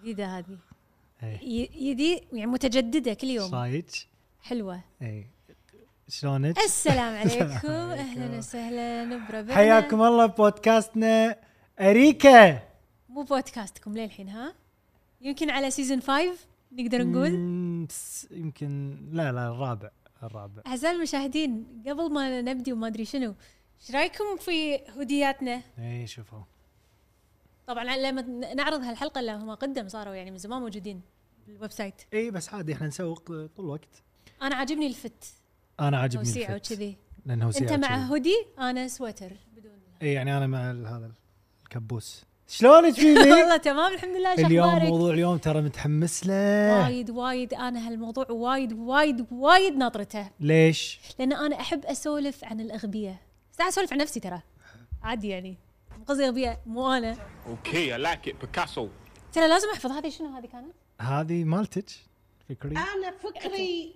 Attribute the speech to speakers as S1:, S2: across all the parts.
S1: جديدة هذه
S2: اي
S1: جديد يعني متجددة كل يوم
S2: صايج
S1: حلوة
S2: اي شلونك؟
S1: السلام عليكم
S2: السلام عليكم.
S1: اهلا وسهلا بربعنا
S2: حياكم الله بودكاستنا اريكا
S1: مو بودكاستكم للحين ها يمكن على سيزون 5 نقدر نقول
S2: مم، بس يمكن لا لا الرابع الرابع
S1: اعزائي المشاهدين قبل ما نبدي وما ادري شنو ايش رايكم في هدياتنا؟
S2: اي شوفوا
S1: طبعا لما نعرض هالحلقه اللهم قدم صاروا يعني من زمان موجودين بالويب سايت
S2: اي بس عادي احنا نسوق طول الوقت
S1: انا عاجبني الفت
S2: انا عاجبني
S1: توسيعه
S2: الفت
S1: وكذي
S2: لانه وسيعه
S1: انت مع
S2: وكذي.
S1: هودي انا سويتر بدون
S2: اي يعني انا مع ال- هذا الكبوس شلونك فيني؟
S1: والله تمام الحمد لله شو
S2: اليوم
S1: اخبارك؟
S2: موضوع اليوم ترى متحمس له
S1: وايد وايد انا هالموضوع وايد وايد وايد ناطرته
S2: ليش؟
S1: لان انا احب اسولف عن الاغبياء ساعة اسولف عن نفسي ترى عادي يعني مو قصدي اغبياء مو انا
S3: Okay, I like it, Picasso.
S1: ترى لازم احفظ هذه شنو هذه كانت
S2: هذه مالتك فكري
S4: انا فكري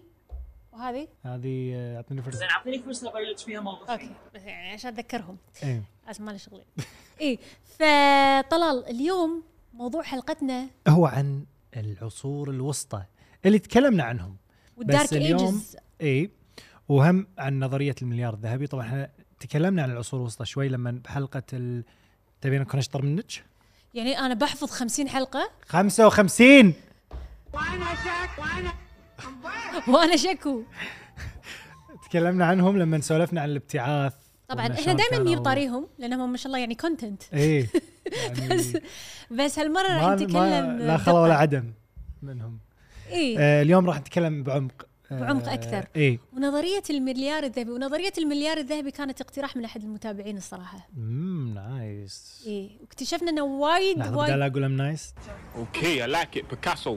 S1: وهذه
S2: هذه آه، اعطيني فرصه
S4: زين اعطيني فرصه اقول لك فيها موقف
S1: اوكي بس يعني عشان اتذكرهم
S2: اي
S1: عشان ما لي شغل اي إيه. فطلال اليوم موضوع حلقتنا
S2: هو عن العصور الوسطى اللي تكلمنا عنهم
S1: والدارك
S2: بس اليوم
S1: ايجز
S2: اي وهم عن نظريه المليار الذهبي طبعا احنا تكلمنا عن العصور الوسطى شوي لما بحلقه ال... تبين اكون اشطر منك
S1: يعني انا بحفظ خمسين حلقه
S2: 55
S1: وانا شكو
S2: تكلمنا عنهم لما سولفنا عن الابتعاث
S1: طبعا
S2: وإن
S1: احنا
S2: شلون
S1: دائما
S2: كانوا-
S1: نجيب طاريهم لانهم ما شاء الله يعني كونتنت
S2: اي إيه. يعني
S1: بس هالمره راح
S2: ما
S1: نتكلم إيه.
S2: ما لا خلا ولا عدم منهم
S1: اي
S2: آه اليوم راح نتكلم بعمق آه
S1: بعمق أكثر.
S2: اي
S1: ونظريه المليار الذهبي ونظريه المليار الذهبي كانت اقتراح من احد المتابعين الصراحه
S2: امم نايس
S1: اي واكتشفنا انه وايد
S2: لحظه بدال
S1: إيه، وايد
S2: اقول ام نايس
S3: Okay, I like it, Picasso.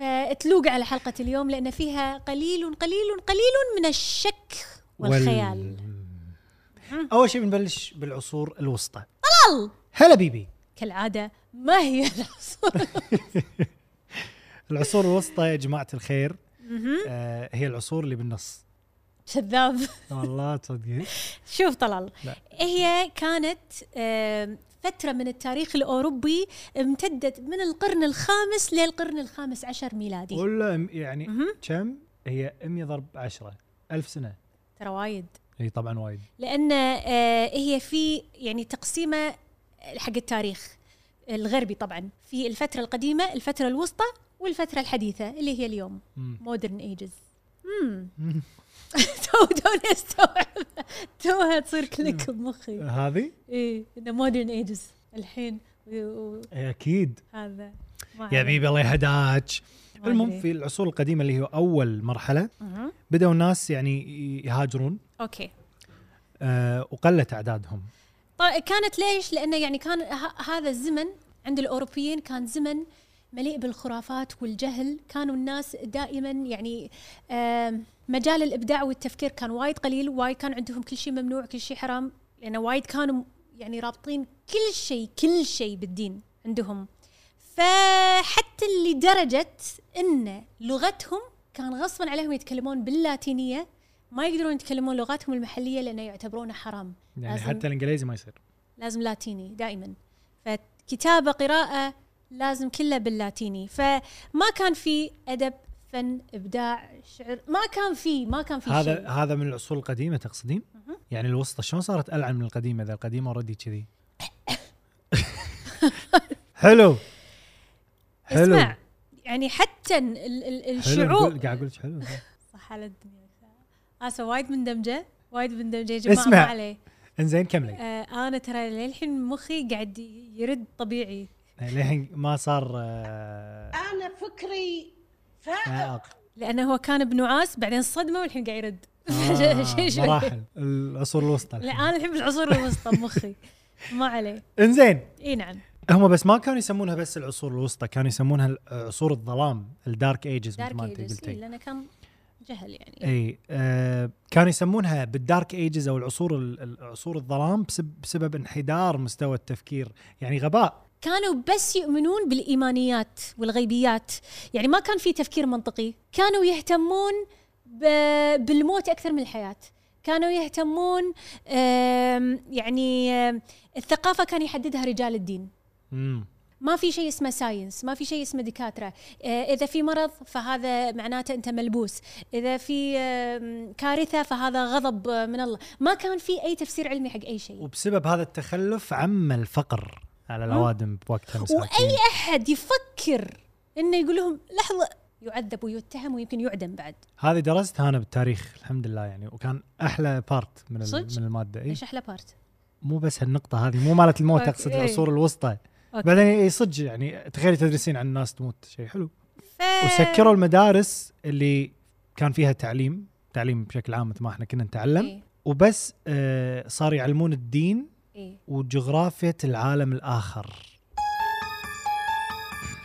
S1: فتلوق على حلقه اليوم لان فيها قليل قليل قليل من الشك والخيال
S2: وال... اول شيء بنبلش بالعصور الوسطى
S1: طلال!
S2: هلا بيبي
S1: كالعاده ما هي العصور
S2: العصور الوسطى يا جماعه الخير آه هي العصور اللي بالنص
S1: كذاب
S2: والله تصدقين
S1: شوف طلال
S2: لا.
S1: هي كانت آم، فترة من التاريخ الأوروبي امتدت من القرن الخامس للقرن الخامس عشر ميلادي
S2: ولا م- يعني
S1: إيه. مهم.
S2: كم هي 100 ضرب 10 ألف سنه
S1: ترى وايد
S2: اي طبعا وايد
S1: لأن آه، هي في يعني تقسيمة حق التاريخ الغربي طبعا في الفترة القديمة الفترة الوسطى والفترة الحديثة اللي هي اليوم
S2: مم.
S1: مودرن ايجز امم تو توني استوعب توها تصير كليك بمخي
S2: هذه
S1: ايه انه مودرن ايجز الحين و- و-
S2: إي اكيد
S1: هذا ما
S2: إيه، يا
S1: عليه.
S2: بيبي الله يهداك
S1: ما
S2: المهم
S1: أدري.
S2: في العصور القديمه اللي هي اول مرحله
S1: مهم.
S2: بداوا الناس يعني يهاجرون
S1: اوكي
S2: آه وقلت اعدادهم
S1: طيب كانت ليش؟ لانه يعني كان ه- هذا الزمن عند الاوروبيين كان زمن مليء بالخرافات والجهل، كانوا الناس دائما يعني آم، مجال الابداع والتفكير كان وايد قليل، وايد كان عندهم كل شيء ممنوع، كل شيء حرام، لانه وايد كانوا يعني رابطين كل شيء كل شيء بالدين عندهم. فحتى لدرجه ان لغتهم كان غصبا عليهم يتكلمون باللاتينيه، ما يقدرون يتكلمون لغتهم المحليه لانه يعتبرونه حرام.
S2: يعني
S1: لازم-
S2: حتى الانجليزي ما يصير
S1: لازم لاتيني دائما فكتابه قراءه لازم كله باللاتيني فما كان في ادب فن ابداع شعر ما كان في ما كان في
S2: هذا
S1: شيء.
S2: هذا من العصور القديمه تقصدين؟ يعني الوسطى شلون صارت العن من القديمه اذا القديمه اوريدي كذي؟ حلو حلو
S1: اسمع يعني حتى ال- ال-
S2: حلو
S1: الشعوب
S2: نقول- قاعد اقول لك حلو
S1: صح على الدنيا اسف وايد مندمجه وايد مندمجه يا جماعه
S2: اسمع.
S1: ما عليه
S2: انزين كملي
S1: آه انا ترى للحين مخي قاعد يرد طبيعي
S2: للحين ما صار آه،
S4: انا فكري فائق
S2: فائق
S1: لانه هو كان بنعاس بعدين صدمه والحين قاعد يرد
S2: آه،
S1: شوي- شوي.
S2: مراحل العصور الوسطى
S1: لا آه.
S2: الحين.
S1: انا الحين بالعصور الوسطى بمخي ما عليه
S2: انزين
S1: اي نعم
S2: هم بس ما كانوا يسمونها بس العصور الوسطى كانوا يسمونها ال- عصور الظلام الدارك ايجز مثل
S1: دارك
S2: ما انت
S1: ايجز إي،
S2: قلتي إيه.
S1: لانه كان جهل يعني
S2: اي آه كانوا يسمونها بالدارك ايجز او العصور ال- ال- عصور الظلام بسب بسبب انحدار مستوى التفكير يعني غباء
S1: كانوا بس يؤمنون بالايمانيات والغيبيات يعني ما كان في تفكير منطقي كانوا يهتمون ب- بالموت اكثر من الحياه كانوا يهتمون آم، يعني آم، الثقافه كان يحددها رجال الدين
S2: امم
S1: ما في شيء اسمه ساينس ما في شيء اسمه دكاترة آه، إذا في مرض فهذا معناته أنت ملبوس إذا في آم، كارثة فهذا غضب آه، من الله ما كان في أي تفسير علمي حق أي شيء
S2: وبسبب هذا التخلف عم الفقر على الاوادم بوقتها مساكين.
S1: واي احد يفكر انه يقول لهم لحظه يعذب ويتهم ويمكن يعدم بعد
S2: هذه درستها انا بالتاريخ الحمد لله يعني وكان احلى بارت من ال-
S1: صدق؟
S2: من الماده اي
S1: ايش احلى بارت
S2: مو بس هالنقطه هذه مو مالت الموت
S1: أوكي.
S2: اقصد العصور الوسطى
S1: أوكي.
S2: بعدين اي صدق يعني تخيلي تدرسين عن الناس تموت شيء حلو
S1: ف...
S2: وسكروا المدارس اللي كان فيها تعليم تعليم بشكل عام مثل ما احنا كنا نتعلم
S1: إيه،
S2: وبس آه، صار يعلمون الدين
S1: إيه.
S2: وجغرافية العالم الآخر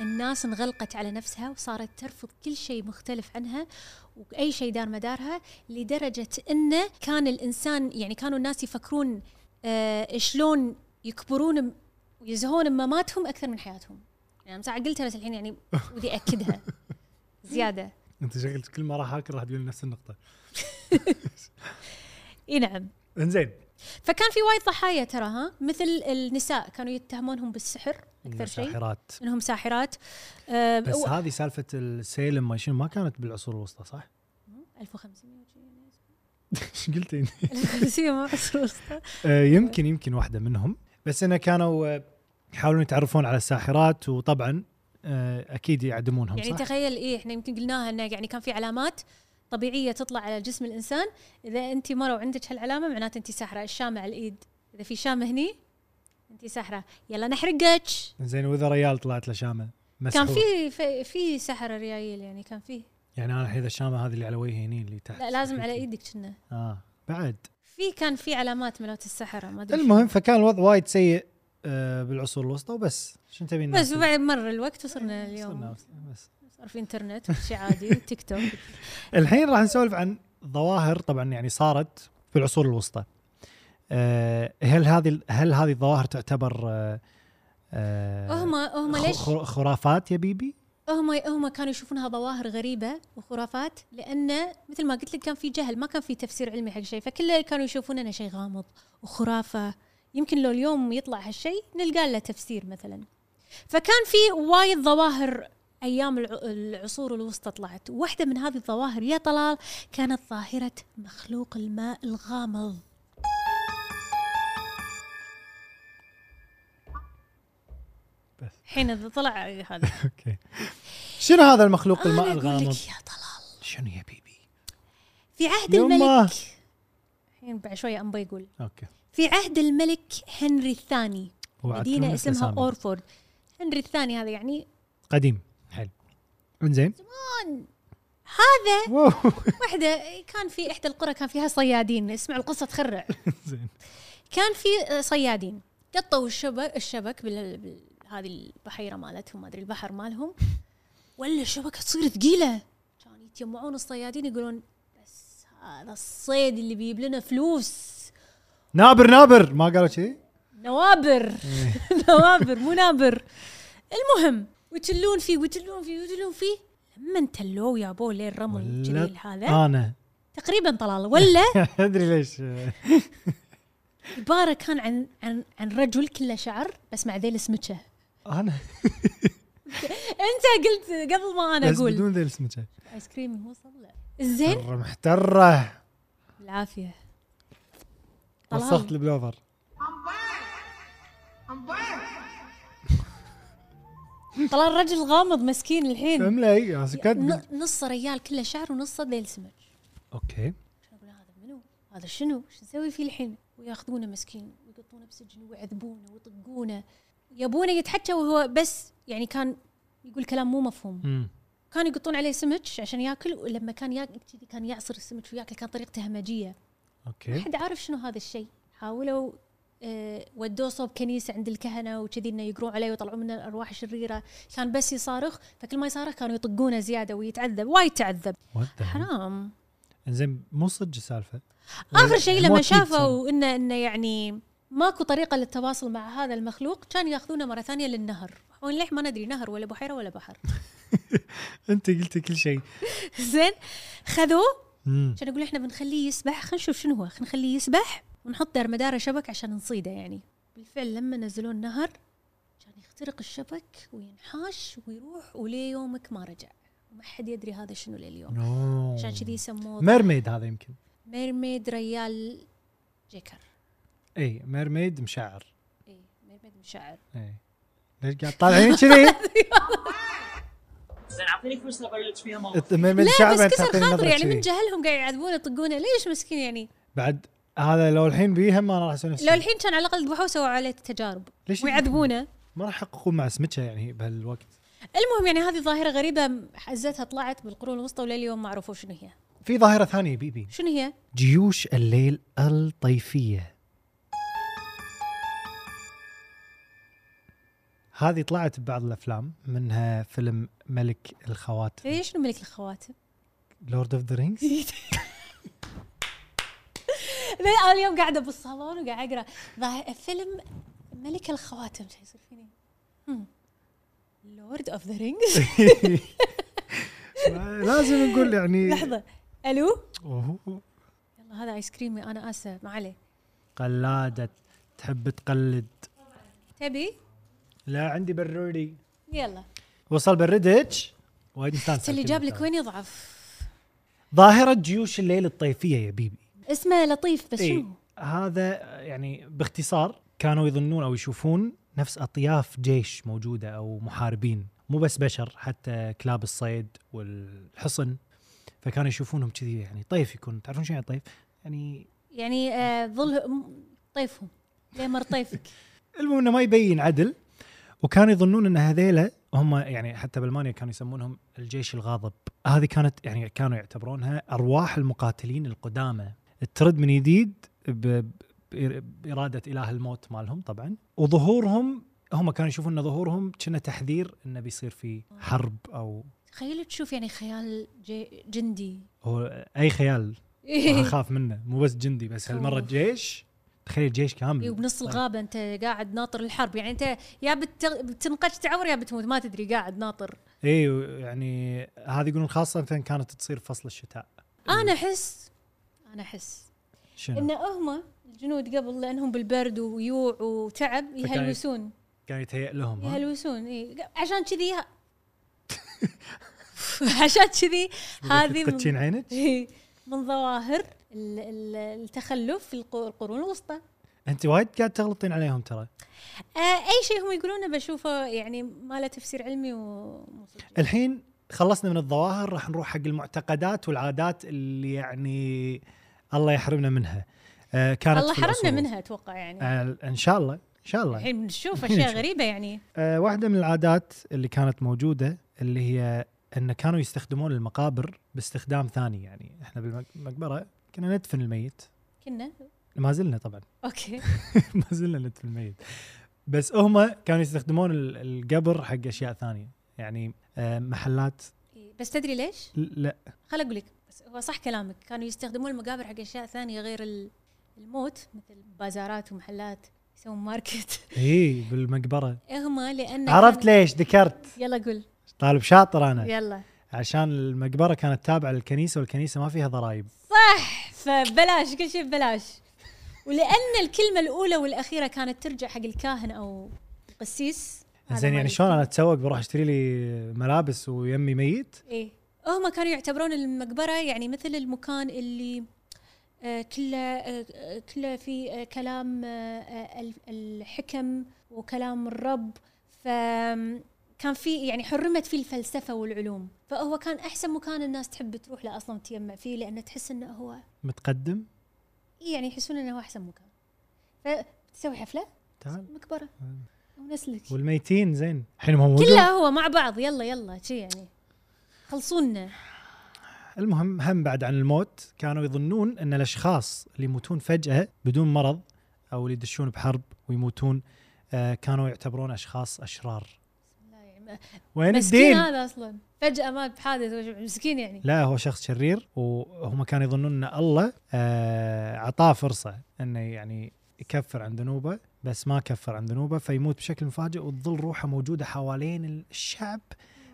S1: الناس انغلقت على نفسها وصارت ترفض كل شيء مختلف عنها واي شيء دار مدارها لدرجه انه كان الانسان يعني كانوا الناس يفكرون آه شلون يكبرون م- ويزهون بمماتهم اكثر من حياتهم يعني ساعه قلتها بس الحين يعني ودي اكدها زياده
S2: انت شكلك كل ما راح اكل راح تقول نفس النقطة
S1: اي نعم
S2: انزين
S1: فكان في وايد ضحايا ترى ها مثل النساء كانوا يتهمونهم بالسحر اكثر شيء
S2: ساحرات
S1: انهم ساحرات آه،
S2: بس
S1: و-
S2: هذه سالفة السيلم ما شنو ما كانت بالعصور الوسطى صح؟
S1: 1500 وشي.
S2: ايش قلتي؟
S1: 1500 ما عصر وسطى.
S2: آه، يمكن يمكن واحدة منهم بس انه كانوا آه، يحاولون يتعرفون على الساحرات وطبعا آه، اكيد يعدمونهم
S1: يعني
S2: صح؟
S1: تخيل ايه احنا يمكن قلناها انه يعني كان في علامات طبيعيه تطلع على جسم الانسان اذا انت مره وعندك هالعلامه معناته انت ساحره الشامه على الايد اذا في شامه هني انت ساحره يلا نحرقك
S2: زين واذا ريال طلعت له شامة
S1: كان
S2: مسحور.
S1: في في, في سحر ريايل يعني كان فيه
S2: يعني انا الحين الشامه هذه اللي على وجهي هني اللي تحت
S1: لا لازم على
S2: صحيح.
S1: ايدك كنا
S2: اه بعد
S1: في كان في علامات ملوت السحره ما ادري شو.
S2: المهم فكان الوضع وايد سيء آه بالعصور الوسطى وبس شنو تبين
S1: بس وبعد مر الوقت وصرنا اليوم
S2: اليوم بس
S1: صار في انترنت كل شيء عادي تيك توك
S2: الحين راح نسولف عن ظواهر طبعا يعني صارت في العصور الوسطى آه هل هذه هل هذه الظواهر تعتبر آه آه
S1: هم هم
S2: خ-
S1: ليش
S2: خر- خرافات يا بيبي؟
S1: هم هم كانوا يشوفونها ظواهر غريبه وخرافات لانه مثل ما قلت لك كان في جهل ما كان في تفسير علمي حق شيء فكله كانوا يشوفون انه شيء غامض وخرافه يمكن لو اليوم يطلع هالشيء نلقى له تفسير مثلا فكان في وايد ظواهر ايام الع- العصور الوسطى طلعت واحده من هذه الظواهر يا طلال كانت ظاهره مخلوق الماء الغامض
S2: بس.
S1: حين طلع هذا
S2: اوكي شنو هذا المخلوق
S1: أنا
S2: الماء
S1: أقول لك
S2: الغامض؟
S1: يا طلال
S2: شنو يا بيبي؟
S1: في عهد
S2: يمه.
S1: الملك الحين بعد شويه أمبا يقول
S2: اوكي
S1: في عهد الملك هنري الثاني
S2: هو عاد كلهم
S1: مدينة
S2: نفس
S1: اسمها
S2: أسامي.
S1: أورفورد هنري الثاني هذا يعني
S2: قديم حلو انزين
S1: هذا
S2: واو
S1: وحدة كان في إحدى القرى كان فيها صيادين اسمع القصة تخرع
S2: زين
S1: كان في آه، صيادين قطوا الشبك الشبك بال... بال... هذه البحيره مالتهم ما ادري البحر مالهم ولا الشبكه تصير ثقيله كانوا يتجمعون الصيادين يقولون بس هذا الصيد اللي بيجيب لنا فلوس
S2: نابر نابر ما قالوا كذي؟
S1: نوابر
S2: إيه.
S1: نوابر مو نابر المهم وتلون فيه وتلون فيه وتلون فيه لما تلوه يا بو ليه الرمل الجليل هذا آه.
S2: انا
S1: تقريبا طلال ولا
S2: ادري ليش
S1: عباره كان عن عن عن رجل كله شعر بس مع ذيل سمكه
S2: انا
S1: انت قلت قبل ما انا
S2: بس
S1: اقول
S2: بدون آه. ذي السمكه
S1: ايس كريم وصل لا زين
S2: مره محتره
S1: العافيه طلال.
S2: وسخت البلوفر
S1: طلال رجل غامض مسكين الحين
S2: املي يا سكت
S1: ن- نص ريال كله شعر ونصه ذيل سمك
S2: اوكي
S1: اقول هذا منو؟ هذا شنو؟ شو نسوي فيه الحين؟ وياخذونه مسكين ويقطونه بسجن ويعذبونه ويطقونه يبونه يتحكى وهو بس يعني كان يقول كلام مو مفهوم
S2: امم
S1: كانوا يقطون عليه سمك عشان ياكل ولما كان ياكل كذي كان يعصر السمك وياكل كان طريقته همجيه ما
S2: اوكي
S1: حد عارف شنو هذا الشيء حاولوا آه، ودوه صوب كنيسه عند الكهنه وكذي انه يقرون عليه ويطلعون منه الارواح الشريره كان بس يصارخ فكل ما يصارخ كانوا يطقونه زياده ويتعذب وايد تعذب
S2: What the hell؟
S1: حرام
S2: زين مو صدق السالفه
S1: اخر شيء
S2: مو
S1: لما
S2: أكيد
S1: شافوا انه انه يعني ماكو طريقه للتواصل مع هذا المخلوق كان ياخذونه مره ثانيه للنهر وللحين ما ندري نهر ولا بحيره ولا بحر
S2: انت قلتي كل شيء
S1: زين خذوه
S2: مم.
S1: كان يقول احنا بنخليه يسبح خلينا نشوف شنو هو خلينا نخليه يسبح ونحط دار مداره شبك عشان نصيده يعني بالفعل لما نزلوه النهر كان يخترق الشبك وينحاش ويروح وليه يومك ما رجع وما حد يدري هذا شنو لليوم
S2: نو
S1: عشان كذي سموه
S2: ميرميد هذا يمكن
S1: ميرميد ريال جيكر
S2: اي ميرميد مشعر
S1: اي ميرميد إيه، مشاعر
S2: اي ليش قاعد طالعين كذي
S4: زين اعطيني فرصه بلش فيها موقف
S2: ميرميد
S1: لا
S2: مشعر بعد
S1: بس كسر
S2: تعطيني
S1: خاطر
S2: نظرة
S1: يعني من
S2: كذي
S1: جهلهم قاعد يعذبونه يطقونه ليش مسكين يعني
S2: بعد هذا لو الحين بيهم ما راح اسوي نفس
S1: لو
S2: الشيء.
S1: الحين كان على الاقل ذبحوه وسووا عليه تجارب
S2: ليش
S1: ويعذبونه
S2: ما راح يحققون مع سمكه يعني بهالوقت
S1: المهم يعني هذه ظاهره غريبه حزتها طلعت بالقرون الوسطى ولليوم ما عرفوا شنو هي
S2: في ظاهره ثانيه بيبي
S1: شنو هي
S2: جيوش الليل الطيفيه هذه طلعت ببعض الافلام منها فيلم ملك الخواتم
S1: تدري إيه، شنو ملك الخواتم
S2: لورد اوف ذا رينجز
S1: لا، انا اليوم قاعده بالصالون وقاعد اقرا ظاهر فيلم ملك الخواتم شو يصير فيني لورد اوف ذا رينجز
S2: لازم نقول يعني
S1: لحظه الو
S2: أوه.
S1: يلا هذا ايس كريمي انا اسفه ما عليه
S2: قلاده تحب تقلد
S1: تبي
S2: لا عندي برودي
S1: يلا
S2: وصل بردج وايد مستانس
S1: اللي جاب لك وين يضعف
S2: ظاهره جيوش الليل الطيفيه يا بيبي
S1: اسمه لطيف بس
S2: إيه،
S1: شنو
S2: هذا يعني باختصار كانوا يظنون او يشوفون نفس اطياف جيش موجوده او محاربين مو بس بشر حتى كلاب الصيد والحصن فكانوا يشوفونهم كذي يعني طيف يكون تعرفون شو يعني طيف؟ يعني
S1: يعني آه، ظل م- طيفهم ليمر طيفك
S2: المهم انه ما يبين عدل وكانوا يظنون ان هذيلا هم يعني حتى بالمانيا كانوا يسمونهم الجيش الغاضب هذه كانت يعني كانوا يعتبرونها ارواح المقاتلين القدامى ترد من جديد ب- ب- باراده اله الموت مالهم طبعا وظهورهم هم كانوا يشوفون ان ظهورهم كنا تحذير انه بيصير في حرب او
S1: تخيل تشوف يعني خيال جي- جندي
S2: هو اي خيال أنا اخاف منه مو بس جندي بس هالمره
S1: أوف.
S2: جيش تخيل جيش كامل
S1: وبنص الغابه انت قاعد ناطر الحرب يعني انت يا بت- بتنقش تعور يا بتموت ما تدري قاعد ناطر
S2: اي يعني هذه يقولون خاصه كانت تصير فصل الشتاء
S1: انا احس انا احس
S2: شنو؟
S1: ان هم الجنود قبل لانهم بالبرد ويوع وتعب يهلوسون
S2: كان يتهيأ لهم ها؟
S1: يهلوسون اي عشان كذي ه- عشان كذي هذه من-
S2: تفتشين عينك؟
S1: إيه، من ظواهر ال- ال- التخلف في القو- القرون الوسطى
S2: انت وايد قاعد تغلطين عليهم ترى
S1: آه، اي شيء هم يقولونه بشوفه يعني ما له تفسير علمي ومو صدق.
S2: الحين خلصنا من الظواهر راح نروح حق المعتقدات والعادات اللي يعني الله يحرمنا منها آه كانت
S1: الله
S2: في
S1: حرمنا
S2: الأصول.
S1: منها اتوقع يعني
S2: آه ان شاء الله ان شاء الله
S1: الحين بنشوف
S2: الحين
S1: اشياء
S2: نشوف.
S1: غريبه يعني
S2: آه، واحدة من العادات اللي كانت موجودة اللي هي أن كانوا يستخدمون المقابر باستخدام ثاني يعني إحنا بالمقبرة كنا ندفن الميت
S1: كنا
S2: ما زلنا طبعا
S1: اوكي
S2: ما زلنا ندفن الميت بس هم كانوا يستخدمون ال- القبر حق أشياء ثانية يعني آه، محلات
S1: إي، بس تدري ليش؟
S2: ل- لا
S1: خل اقول لك بس هو صح كلامك كانوا يستخدمون المقابر حق اشياء ثانيه غير ال- الموت مثل بازارات ومحلات يسوون ماركت
S2: اي بالمقبرة
S1: هما لان
S2: عرفت طيب.
S1: كان-
S2: ليش ذكرت
S1: يلا قول
S2: طالب شاطر أنا
S1: يلا
S2: عشان المقبرة كانت تابعة للكنيسة والكنيسة ما فيها ضرائب
S1: فبلاش كل شيء ببلاش ولان الكلمه الاولى والاخيره كانت ترجع حق الكاهن او القسيس هذا
S2: زين
S1: ما
S2: يعني
S1: يستاهل.
S2: شلون أنا أتسوق بروح أشتري لي ملابس ويمي ميت
S1: ايه هم كانوا يعتبرون المقبره يعني مثل المكان اللي آه، كله آه، آه، كله في آه، كلام آه، آه، ال- الحكم وكلام الرب فكان في يعني حرمت فيه الفلسفه والعلوم فهو كان احسن مكان الناس تحب تروح له اصلا تيمع فيه لانه تحس انه هو
S2: متقدم
S1: إيه يعني يحسون انه هو احسن مكان فتسوي حفله
S2: تعال
S1: مقبره
S2: نعم.
S1: ونسلك
S2: والميتين زين الحين هم موجود
S1: كله هو مع بعض يلا يلا شي يعني خلصونا
S2: المهم هم بعد عن الموت كانوا يظنون ان الاشخاص اللي يموتون فجاه بدون مرض او اللي يدشون بحرب ويموتون آه، كانوا يعتبرون اشخاص اشرار
S1: لا يعني
S2: وين
S1: مسكين
S2: الدين؟
S1: هذا اصلا فجاه مات بحادث وش- مسكين يعني
S2: لا هو شخص شرير وهم كانوا يظنون ان الله آه، عطاه فرصه انه يعني يكفر عن ذنوبه بس ما كفر عن ذنوبه فيموت بشكل مفاجئ وتظل روحه موجوده حوالين الشعب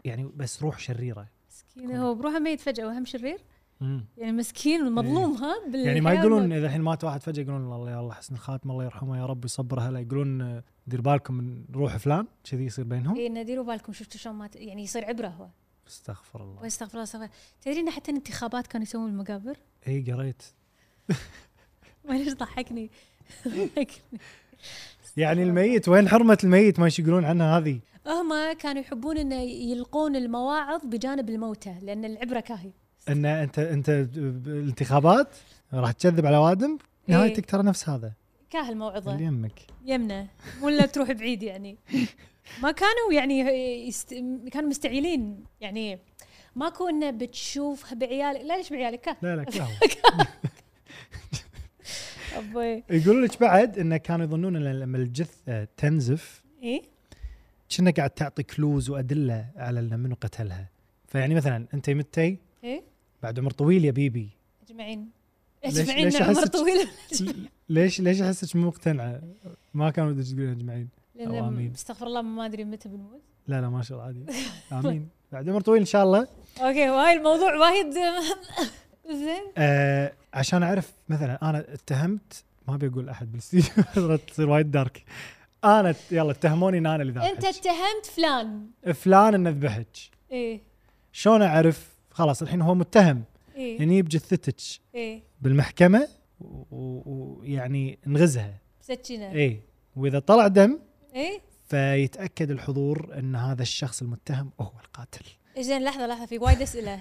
S2: يعني بس روح شريره
S1: مسكين
S2: نعم.
S1: هو بروحه ميت فجاه وهم شرير
S2: مم.
S1: يعني مسكين مظلوم ها بالحياة
S2: يعني ما يقولون
S1: والموت.
S2: اذا الحين مات واحد فجاه يقولون الله يلا حسن الخاتمه الله يرحمه يا رب يصبره هلا يقولون آه، دير بالكم من روح فلان كذي يصير بينهم
S1: اي إنه ديروا بالكم إيه، شفتوا شلون مات يعني يصير عبره هو
S2: استغفر الله
S1: واستغفر الله استغفر الله. تدرين حتى الانتخابات كانوا يسوون المقابر
S2: اي إيه، قريت
S1: ما ليش ضحكني ضحكني.
S2: يعني
S1: إيه.
S2: الميت وين حرمه الميت ما يقولون عنها هذه
S1: هم كانوا يحبون انه يلقون المواعظ بجانب الموتى لان العبره كاهي
S2: ان انت انت الانتخابات راح تكذب على وادم
S1: إيه.
S2: نهايتك ترى نفس هذا
S1: كاهي
S2: اللي
S1: الموعظه
S2: يمك
S1: يمنى ولا تروح بعيد يعني ما كانوا يعني يست... كانوا مستعيلين يعني ماكو انه بتشوف بعيالك لا ليش بعيالك كاه
S2: لا لا كلام
S1: ابوي
S2: يقول لك بعد انه كانوا يظنون ان لما الجثه آه، تنزف
S1: ايه
S2: كنا قاعد تعطي كلوز وادله على إن منو قتلها فيعني مثلا انت متي
S1: ايه
S2: بعد عمر طويل يا بيبي
S1: اجمعين
S2: ليش-
S1: اجمعين
S2: ليش
S1: عمر
S2: أحسك-
S1: طويل
S2: ليش ليش احسك مو مقتنعه؟ ما كانوا ودك تقولين اجمعين
S1: لان
S2: أوامين.
S1: استغفر الله ما ادري متى بنموت
S2: لا لا ما شاء الله عادي امين بعد عمر طويل ان شاء الله
S1: اوكي وهاي الموضوع وايد زين
S2: آه عشان اعرف مثلا انا اتهمت ما ابي اقول احد بالاستديو تصير وايد دارك انا ت- يلا اتهموني ان انا اللي
S1: انت
S2: ذبحت
S1: اتهمت فلان
S2: فلان انه ذبحك
S1: ايه
S2: شلون اعرف خلاص الحين هو متهم
S1: ايه
S2: يعني بجثتك
S1: ايه
S2: بالمحكمه و- و- ويعني نغزها
S1: سكينه
S2: اي واذا طلع دم
S1: ايه
S2: فيتاكد الحضور ان هذا الشخص المتهم هو القاتل
S1: زين لحظه لحظه في وايد اسئله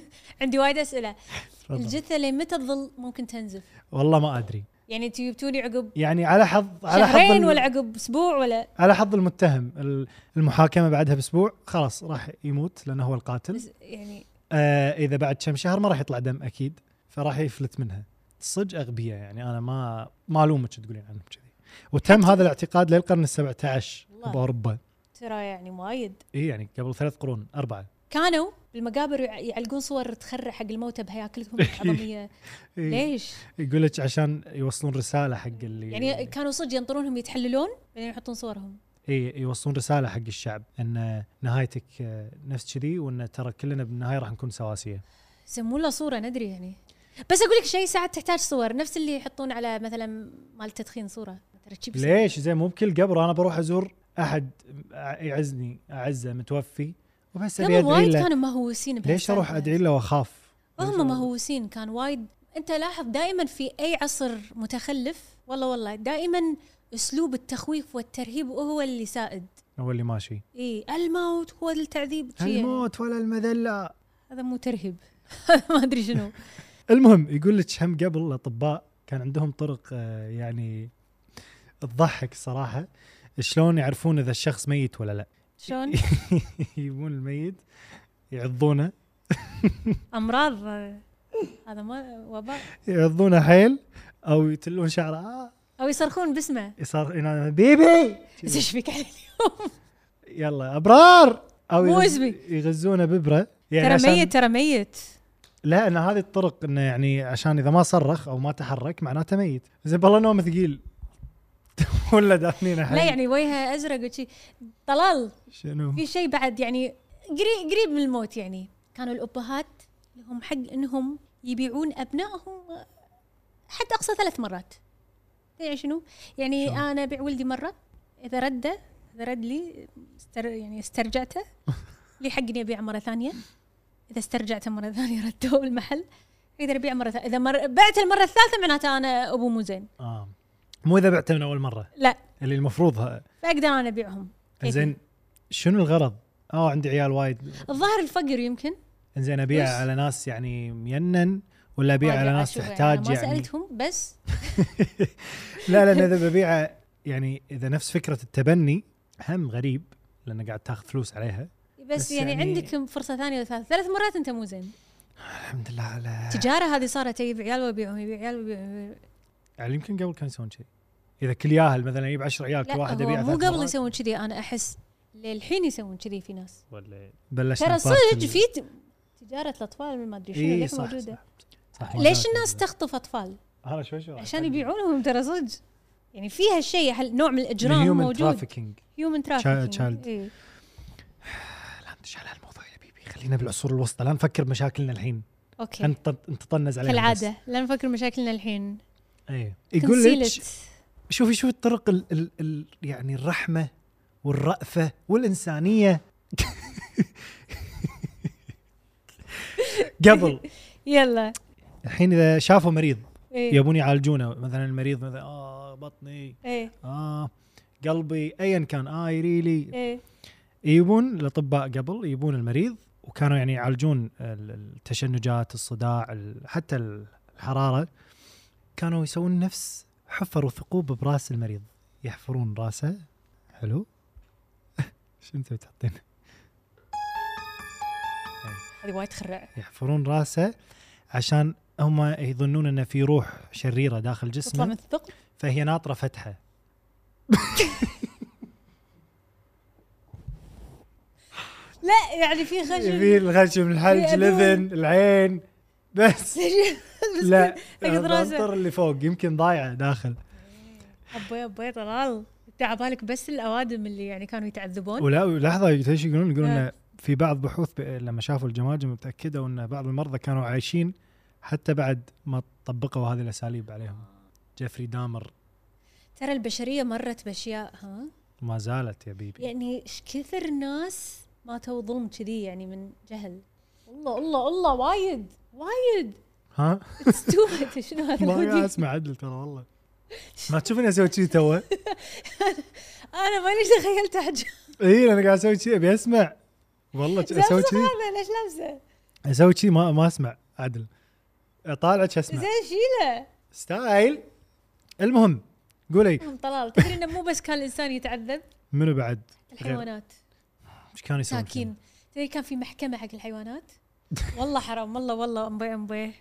S1: عندي وايد اسئله
S2: تفضل.
S1: الجثه لين متى تظل ممكن تنزف؟
S2: والله ما ادري
S1: يعني انتوا جبتوني عقب
S2: يعني على حظ على حظ
S1: شهرين
S2: ال-
S1: ولا عقب اسبوع ولا
S2: على حظ المتهم ال- المحاكمه بعدها باسبوع خلاص راح يموت لانه هو القاتل
S1: يعني
S2: آه اذا بعد كم شهر ما راح يطلع دم اكيد فراح يفلت منها صدق اغبياء يعني انا ما ما الومك تقولين عنهم كذي وتم هذا الاعتقاد للقرن ال17
S1: والله.
S2: باوروبا
S1: ترى يعني وايد
S2: اي يعني قبل ثلاث قرون اربعه
S1: كانوا بالمقابر يع- يعلقون صور تخرع حق الموتى بهياكلهم العظميه
S2: إيه،
S1: ليش؟
S2: يقول لك عشان يوصلون رساله حق اللي
S1: يعني كانوا صدق ينطرونهم يتحللون بعدين يحطون صورهم
S2: اي يوصلون رساله حق الشعب ان نهايتك آه، نفس كذي وان ترى كلنا بالنهايه راح نكون سواسيه
S1: يسمون له صوره ندري يعني بس اقول لك شيء ساعات تحتاج صور نفس اللي يحطون على مثلا مال التدخين صوره ترى تشيب
S2: ليش زين مو بكل قبر انا بروح ازور احد يعزني اعزه متوفي وبس ابي
S1: قبل
S2: ادعي
S1: وايد
S2: له
S1: كانوا مهووسين بهالسالفة.
S2: ليش اروح ادعي له واخاف؟
S1: هم مهووسين كان وايد انت لاحظ دائما في اي عصر متخلف والله والله دائما اسلوب التخويف والترهيب هو اللي سائد
S2: هو اللي ماشي
S1: اي الموت هو التعذيب شي يعني.
S2: الموت ولا المذله
S1: هذا مو ترهيب ما ادري شنو
S2: المهم يقول لك هم قبل الاطباء كان عندهم طرق آه، يعني تضحك صراحه شلون يعرفون اذا الشخص ميت ولا لا
S1: شلون
S2: يجيبون الميت يعضونه
S1: امراض هذا ما وباء
S2: يعضونه حيل او يتلون شعره آه،
S1: او يصرخون باسمه
S2: صار ينادون، بيبي
S1: بس ايش فيك على اليوم
S2: يلا ابرار او
S1: مو
S2: يغز-
S1: اسمي.
S2: يغزونه ببره يعني
S1: ترى
S2: عشان-
S1: ميت ترى ميت
S2: لا ان هذه الطرق انه يعني عشان اذا ما صرخ او ما تحرك معناته ميت زين والله نوم ثقيل ولا دافنينه
S1: لا
S2: حيل.
S1: يعني وجهه ازرق وشي طلال
S2: شنو
S1: في شيء بعد يعني قريب قريب من الموت يعني كانوا الابهات لهم حق انهم يبيعون ابنائهم حتى اقصى ثلاث مرات يعني شنو؟ يعني
S2: شلون؟
S1: انا ابيع ولدي مره اذا رده اذا رد لي استر يعني استرجعته لي حق اني ابيعه مره ثانيه اذا استرجعته مره ثانيه ردوا المحل اقدر ابيعه مره ثانيه اذا مر... بعت المره الثالثه معناته انا ابو مو زين
S2: آه. مو اذا بعته من اول مره
S1: لا
S2: اللي المفروض ها-
S1: فاقدر انا ابيعهم كيفي.
S2: زين شنو الغرض؟ اه عندي عيال وايد
S1: الظاهر الفقر يمكن
S2: زين ابيع
S1: بس.
S2: على ناس يعني مينن ولا
S1: ما
S2: ابيع على
S1: أدري
S2: ناس
S1: عاد شوف
S2: تحتاج
S1: يعني, أنا ما
S2: يعني
S1: سالتهم بس
S2: لا لان اذا ببيعه يعني اذا نفس فكره التبني هم غريب لانه قاعد تاخذ فلوس عليها
S1: بس,
S2: بس
S1: يعني,
S2: يعني-
S1: عندك فرصه ثانيه وثالثه ثلاث مرات انت مو زين
S2: الحمد لله على
S1: تجاره هذه صارت يجيب عيال ويبيعهم يبيع عيال ويبيعهم يبيع-
S2: يعني يمكن قبل كانوا يسوون شيء اذا كل ياهل مثلا يجيب 10 عيال كل
S1: لا
S2: واحد
S1: هو
S2: يبيع
S1: مو قبل يسوون كذي انا احس للحين يسوون كذي في ناس
S5: ولا
S2: بلش
S1: ترى صدق في ت- تجاره الاطفال من ما ادري شنو ليش
S2: إيه، صح
S1: موجوده
S2: صح, صح
S1: ليش الناس تخطف اطفال
S2: انا شوي شوي
S1: عشان يبيعونهم ترى صدق يعني في هالشيء هال- نوع من الاجرام موجود إيه.
S2: ترافيكينج
S1: هيومن
S2: child.
S1: ترافيكينج
S2: لا انت شال هالموضوع يا بيبي خلينا بالعصور الوسطى لا نفكر مشاكلنا الحين
S1: اوكي
S2: انت انت طنز علينا
S1: كالعاده لا نفكر مشاكلنا الحين
S2: ايه يقول لك
S1: Conceal it.
S2: شوفي شو الطرق ال ال ال يعني الرحمه والرأفه والانسانيه قبل
S1: يلا
S2: الحين اذا شافوا مريض
S1: ايه
S2: يبون يعالجونه مثلا المريض مثلا اه بطني
S1: ايه
S2: اه قلبي ايا كان اه يريلي
S1: ايه
S2: يبون الاطباء قبل يبون المريض وكانوا يعني يعالجون ال- التشنجات الصداع ال- حتى الحراره كانوا يسوون نفس حفروا ثقوب براس المريض يحفرون راسه حلو شو انتم تحطين
S1: هذه وايد تخرع
S2: يحفرون راسه عشان هم يظنون انه في روح شريره
S1: تطلع من
S2: داخل جسمه
S1: الثقب
S2: فهي ناطره فتحه
S1: لا يعني في خشب
S2: في الغشم الحلج
S1: في أذن.
S2: الاذن العين بس
S1: بس
S2: لا
S1: أقصد راسه.
S2: الانطر اللي فوق يمكن ضايعه داخل
S1: ابوي ابوي طلال انت عبالك بس الاوادم اللي يعني كانوا يتعذبون
S2: ولا لحظه ايش يقولون؟ يقولون
S1: آه.
S2: إن في بعض بحوث ب- لما شافوا الجماجم تاكدوا ان بعض المرضى كانوا عايشين حتى بعد ما طبقوا هذه الاساليب عليهم جيفري دامر
S1: ترى البشريه مرت باشياء ها
S2: ما زالت يا بيبي
S1: يعني ايش كثر ناس ماتوا ظلم كذي يعني من جهل الله الله الله وايد وايد
S2: ها
S1: ستوبد شنو هذا
S2: ما قاعد
S1: الوجه؟
S2: اسمع عدل ترى والله ما تشوفني اسوي كذي تو
S1: انا ماني تخيلت حاجه
S2: اي انا إيه، قاعد اسوي كذي ابي اسمع والله اسوي
S1: لابسه
S2: كذي
S1: هذا ليش لابسه؟
S2: اسوي كذي ما ما اسمع عدل اطالعك اسمع
S1: زين شيله
S2: ستايل المهم قولي
S1: أم طلال تدري انه مو بس كان الانسان يتعذب
S2: منو بعد؟
S1: الحيوانات
S2: ايش كان يسوي؟
S1: ساكين تدري كان في محكمه حق الحيوانات والله حرام والله والله امبي امبي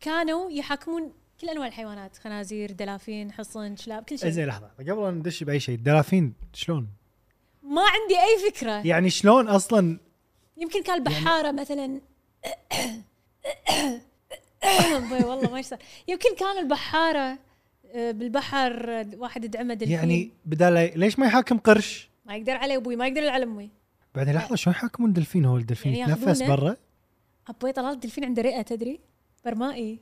S1: كانوا يحاكمون كل انواع الحيوانات خنازير دلافين حصن شلاب كل شيء
S2: إيه، زين لحظه قبل أن ندش باي شيء الدلافين شلون؟
S1: ما عندي اي فكره
S2: يعني شلون اصلا
S1: يمكن
S2: يعني
S1: كان البحاره مثلا أمبي والله ما إيش صار يمكن كان البحاره آه، بالبحر آه، واحد يدعمه دلفين
S2: يعني بدال ليش ما يحاكم قرش؟
S1: ما يقدر علي ابوي ما يقدر على امي
S2: بعدين لحظه شلون يحاكمون دلفين هو الدلفين
S1: يعني
S2: يتنفس
S1: ياخذونه؟
S2: برا؟
S1: ابوي طلال الدلفين عنده رئه تدري برمائي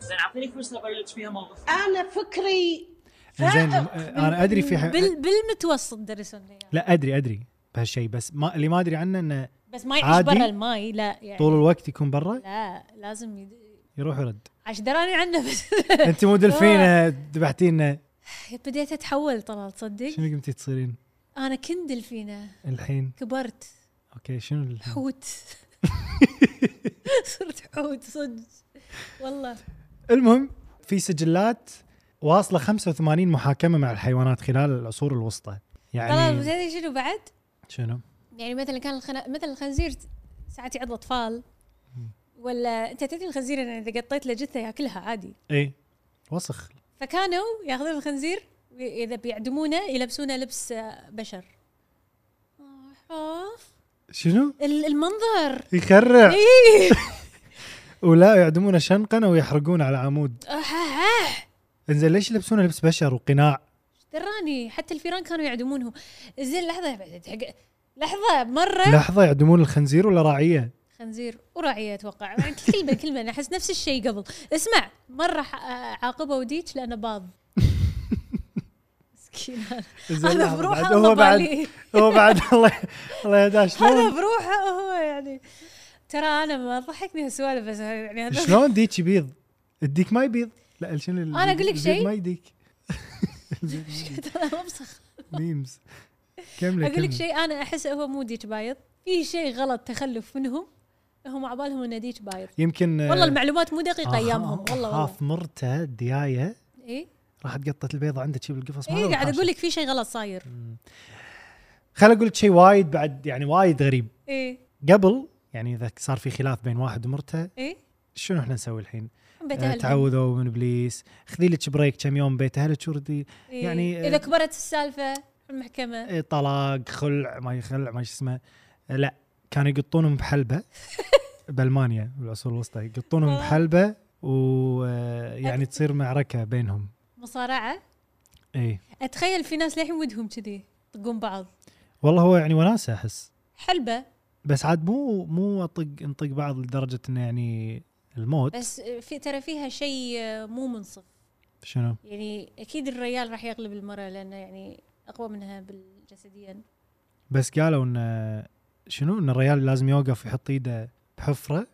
S4: زين اعطيني فرصه ابلش فيها موقف
S6: انا فكري
S2: زين انا ادري في ح...
S1: بال بالمتوسط درسونا اياه
S2: لا ادري ادري بهالشيء بس ما اللي ما ادري عنه انه
S1: بس ما يعيش
S2: عادي؟
S1: برا الماي لا يعني
S2: طول الوقت يكون برا
S1: لا لازم يد...
S2: يروح يرد
S1: عش دراني عنه بس
S2: انت مو دلفين آه، ذبحتينا
S1: بديت اتحول طلال تصدق
S2: شنو قمتي تصيرين
S1: انا كنت دلفينه
S2: الحين؟
S1: كبرت
S2: اوكي شنو الحين؟
S1: حوت صرت حوت صدق والله
S2: المهم في سجلات واصله 85 محاكمه مع الحيوانات خلال العصور الوسطى
S1: طلال
S2: يعني
S1: تدري شنو بعد؟
S2: شنو؟
S1: يعني مثلا كان الخنا... مثلا الخنزير ساعات يعض اطفال ولا انت تدري الخنزير إن اذا قطيت له جثه ياكلها عادي
S2: اي وسخ
S1: فكانوا ياخذون الخنزير وي- اذا بيعدمونه يلبسونه لبس آه، بشر آه،
S2: شنو؟
S1: ال- المنظر
S2: يخرع
S1: إيه.
S2: ولا يعدمون شنقا او يحرقون على عمود
S1: آه، أحاح.
S2: انزين ليش يلبسون لبس بشر وقناع؟
S1: إيه. دراني حتى الفيران كانوا يعدمونهم زين لحظه بعد- حق- لحظه مره
S2: لحظه يعدمون الخنزير ولا راعيه؟
S1: خنزير وراعيه اتوقع يعني كلمه كلمه انا احس نفس الشيء قبل اسمع مره ح- آه، عاقبه وديك لانه باض مسكين هذا.
S2: إنزين
S1: هذا
S2: لحظة،
S1: بروحه
S2: بعد-
S1: الله
S2: هو بعد
S1: بالي
S2: هو بعد الله الله يهداه
S1: هذا
S2: شلون
S1: بروحه هو يعني ترى انا ما ضحكني هالسوالف بس يعني هذا
S2: شلون ديك يبيض؟ الديك ما يبيض لا شنو ال-
S1: أنا أقول لك
S2: البيض
S1: شيء؟
S2: ما يديك
S1: ترى مبسخ
S2: ميمز كملي
S1: اقول لك
S2: كملي.
S1: شيء انا احس هو مو ديك بايض في شيء غلط تخلف منهم هم عبالهم انه ديك بايض
S2: يمكن آه،
S1: والله المعلومات مو دقيقه ايامهم والله والله
S2: خاف مرته ديايه
S1: اي
S2: راحت قطت البيضه عندك شي بالقفص ما
S1: اي
S2: أدري
S1: إيه، قاعد
S2: خاش.
S1: اقول لك في شيء غلط صاير
S2: خل اقول لك شيء وايد بعد يعني وايد غريب
S1: ايه
S2: قبل يعني اذا صار في خلاف بين واحد ومرته
S1: ايه
S2: شنو احنا نسوي الحين؟
S1: بيت
S2: آه،
S1: أهلهم.
S2: تعوذوا من ابليس خذي لك بريك كم يوم بيت اهلك وردي
S1: إيه.
S2: يعني، آه،
S1: اذا كبرت السالفه في المحكمه
S2: إيه، طلاق خلع ما يخلع ما شو اسمه آه، لا كانوا يقطونهم بحلبه بالمانيا بالعصور الوسطى يقطونهم
S1: آه.
S2: بحلبه ويعني يعني تصير معركه بينهم إيه.
S1: مصارعه
S2: اي
S1: اتخيل في ناس للحين ودهم كذي يطقون بعض
S2: والله هو يعني وناسه احس
S1: حلبه
S2: بس عاد مو مو اطق نطق بعض لدرجه انه يعني الموت
S1: بس في ترى فيها شيء آه، مو منصف
S2: شنو؟
S1: يعني اكيد الرجال راح يغلب المراه لانه يعني اقوى منها بالجسديا
S2: آه. بس قالوا ان شنو ان الريال لازم يوقف يحط ايده بحفره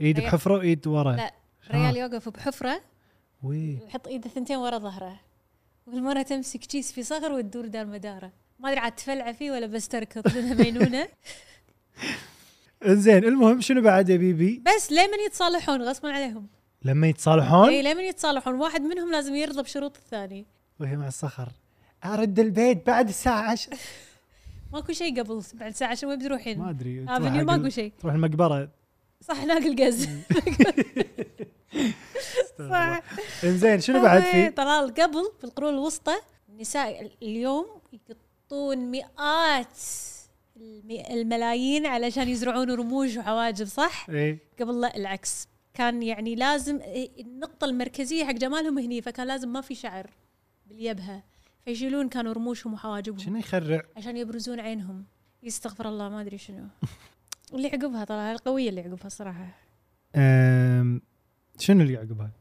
S2: ايد
S1: ريال-
S2: بحفره وايد ورا
S1: لا، الرجال يوقف بحفره
S2: وي
S1: ويحط ايده ثنتين ورا ظهره والمراه تمسك كيس في صغر وتدور دار مداره ما ادري عاد تفلع فيه ولا بس تركض لانها مجنونه
S2: انزين المهم شنو بعد يا بيبي
S1: بس لمن يتصالحون غصبا عليهم
S2: لما يتصالحون
S1: اي لمن يتصالحون واحد منهم لازم يرضى بشروط الثاني
S2: وهي مع الصخر ارد البيت بعد الساعه 10
S1: ماكو شيء قبل بعد ساعه عشان وين بتروحين؟
S2: ما ادري
S1: آه،
S2: تروح
S1: فيديو
S2: حق
S1: ماكو
S2: ال-
S1: شيء.
S2: تروح المقبره
S1: صح ناكل قز صح
S2: انزين شنو بعد
S1: إيه،
S2: في
S1: طلال قبل في القرون الوسطى النساء اليوم يقطون مئات المي- الملايين علشان يزرعون رموش وحواجب صح؟
S2: اي
S1: قبل لا العكس كان يعني لازم النقطة المركزية حق جمالهم هني فكان لازم ما في شعر باليبهة فيشيلون كانوا رموشهم وحواجبهم
S2: شنو يخرع
S1: عشان يبرزون عينهم يستغفر الله ما ادري شنو اللي عقبها طلع القوية اللي عقبها صراحة
S2: أم، شنو اللي يعقبها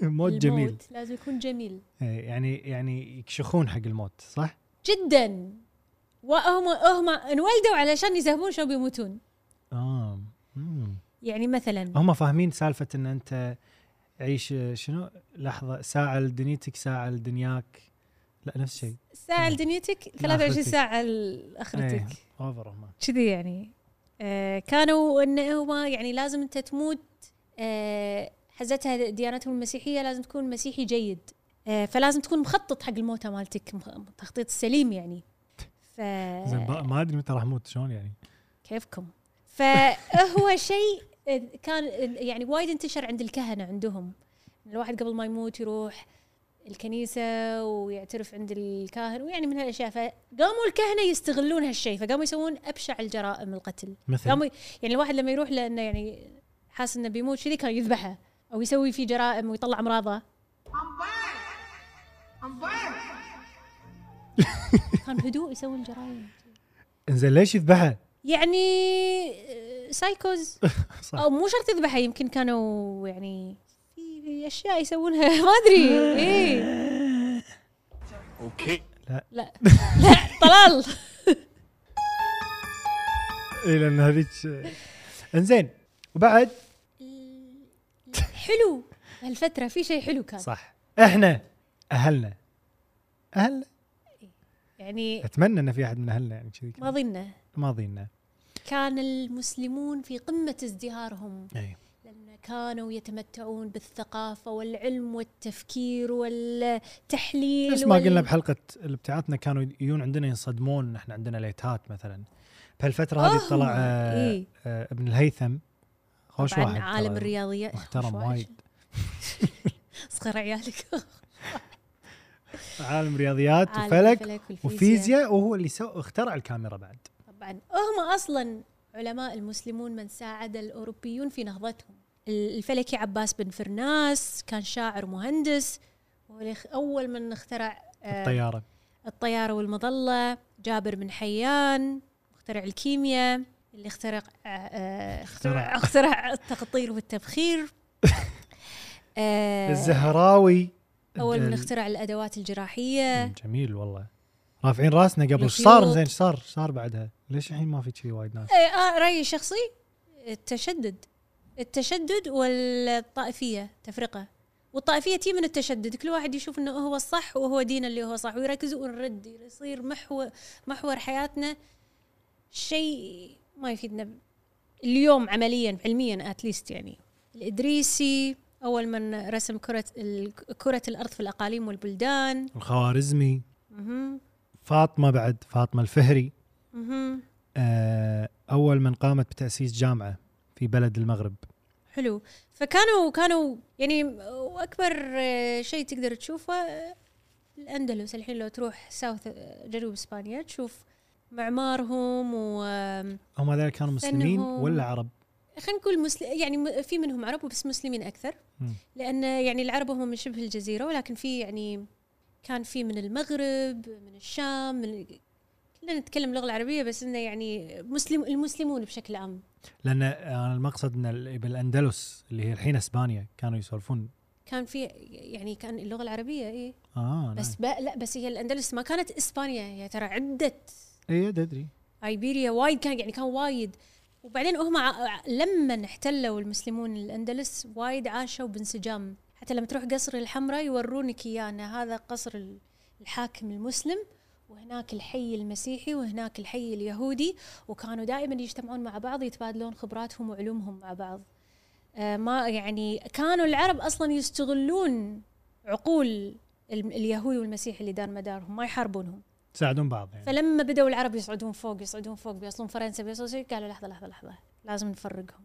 S2: موت جميل
S1: الموت لازم يكون جميل
S2: إي، يعني يعني يكشخون حق الموت صح
S1: جدا وهم هم انولدوا علشان يزهبون شو بيموتون
S2: اه مم.
S1: يعني مثلا
S2: هم فاهمين سالفه ان انت عيش شنو لحظه ساعه لدنيتك ساعه لدنياك لا نفس الشيء
S1: ساعة لدنيتك 23
S2: لآخرتك.
S1: ساعة لاخرتك
S2: إيه، اوفر هم
S1: كذي يعني آه كانوا انه هو يعني لازم انت تموت آه حزتها ديانتهم المسيحيه لازم تكون مسيحي جيد آه فلازم تكون مخطط حق الموتى مالتك مخ- تخطيط سليم يعني ف
S2: زين بقى ما ادري متى راح اموت شلون يعني
S1: كيفكم فهو شيء آه، كان يعني وايد انتشر عند الكهنه عندهم الواحد قبل ما يموت يروح الكنيسه ويعترف عند الكاهن ويعني من هالاشياء فقاموا الكهنه يستغلون هالشيء فقاموا يسوون ابشع الجرائم القتل
S2: مثل
S1: قاموا يعني الواحد لما يروح لانه يعني حاسس انه بيموت كذي كان يذبحه او يسوي فيه جرائم ويطلع امراضه كان هدوء يسوون جرائم
S2: انزين ليش يذبحه؟
S1: يعني آه، سايكوز
S2: صح
S1: او مو شرط يذبحها يمكن كانوا يعني في في اشياء يسوونها ما ادري ايه
S3: Okay.
S1: لا لا طلال
S2: اي لان إيه، هذيك انزين وبعد
S1: حلو هالفتره في شيء حلو كان
S2: صح احنا اهلنا اهلنا
S1: يعني
S2: اتمنى ان في احد من اهلنا يعني كذي
S1: ما ظنه
S2: ماضينا
S1: كان المسلمون في قمه ازدهارهم
S2: اي
S1: لأن كانوا يتمتعون بالثقافة والعلم والتفكير والتحليل
S2: نفس ما
S1: وال-
S2: قلنا بحلقه بتاعتنا كانوا يجون عندنا ينصدمون ان احنا عندنا ليتات مثلا بهالفتره
S1: آه،
S2: هذه طلع آه،
S1: إيه.
S2: آه، ابن الهيثم خوش
S1: طبعاً
S2: واحد
S1: عالم
S2: ترى،
S1: الرياضيات
S2: محترم
S1: خوش واحد.
S2: وايد
S1: صغر عيالك
S2: عالم رياضيات
S1: عالم
S2: وفلك
S1: الفلك والفيزياء.
S2: وفيزياء وهو اللي سو اخترع الكاميرا بعد
S1: طبعا هم اصلا علماء المسلمون من ساعد الاوروبيون في نهضتهم الفلكي عباس بن فرناس كان شاعر مهندس هو اللي خ- اول من اخترع آه،
S2: الطياره
S1: الطيارة والمظلة جابر بن حيان مخترع الكيمياء اللي اخترع آه،
S2: اخترع.
S1: اخترع اخترع التقطير والتبخير آه،
S2: الزهراوي
S1: اول من
S2: ال-
S1: اخترع الادوات الجراحيه
S2: جميل والله رافعين راسنا قبل ايش
S1: الخيوط.
S2: صار زين ايش صار ايش صار بعدها ليش الحين ما في شيء وايد ناس
S1: آه، آه، رايي الشخصي التشدد التشدد والطائفيه تفرقه والطائفيه تي من التشدد كل واحد يشوف انه هو الصح وهو دينه اللي هو صح ويركز ونرد يصير محور محور حياتنا شيء ما يفيدنا ب- اليوم عمليا علميا اتليست يعني الادريسي اول من رسم كره ال- كره الارض في الاقاليم والبلدان
S2: الخوارزمي
S1: مهم.
S2: فاطمه بعد فاطمه الفهري
S1: مهم.
S2: آه، اول من قامت بتاسيس جامعه في بلد المغرب
S1: حلو فكانوا كانوا يعني واكبر آه، شيء تقدر تشوفه آه، الاندلس الحين لو تروح ساوث آه، جنوب اسبانيا تشوف معمارهم و آم،
S2: هم ذلك كانوا مسلمين
S1: لأنهم-
S2: ولا عرب
S1: خلينا نقول مسلم يعني م- في منهم عرب بس مسلمين اكثر
S2: مم.
S1: لان يعني العرب هم من شبه الجزيره ولكن في يعني كان في من المغرب من الشام من كلنا نتكلم اللغه العربيه بس انه يعني مسلم المسلمون بشكل عام
S2: لان انا المقصد ان ال- بالاندلس اللي هي الحين اسبانيا كانوا يسولفون
S1: كان في يعني كان اللغه العربيه ايه
S2: اه
S1: بس بقى لا بس هي الاندلس ما كانت اسبانيا هي ترى عده
S2: اي ادري
S1: ايبيريا وايد كان يعني كان وايد وبعدين هم ع- ع- لما احتلوا المسلمون الاندلس وايد عاشوا بانسجام حتى لما تروح قصر الحمراء يورونك اياه ان هذا قصر ال- الحاكم المسلم وهناك الحي المسيحي وهناك الحي اليهودي وكانوا دائما يجتمعون مع بعض يتبادلون خبراتهم وعلومهم مع بعض آه، ما يعني كانوا العرب اصلا يستغلون عقول الم- اليهودي والمسيحي اللي دار مدارهم ما يحاربونهم
S2: تساعدون بعض يعني
S1: فلما بدأوا العرب يصعدون فوق يصعدون فوق بيوصلون فرنسا بيوصلون شيء قالوا لحظة لحظة لحظة لازم نفرقهم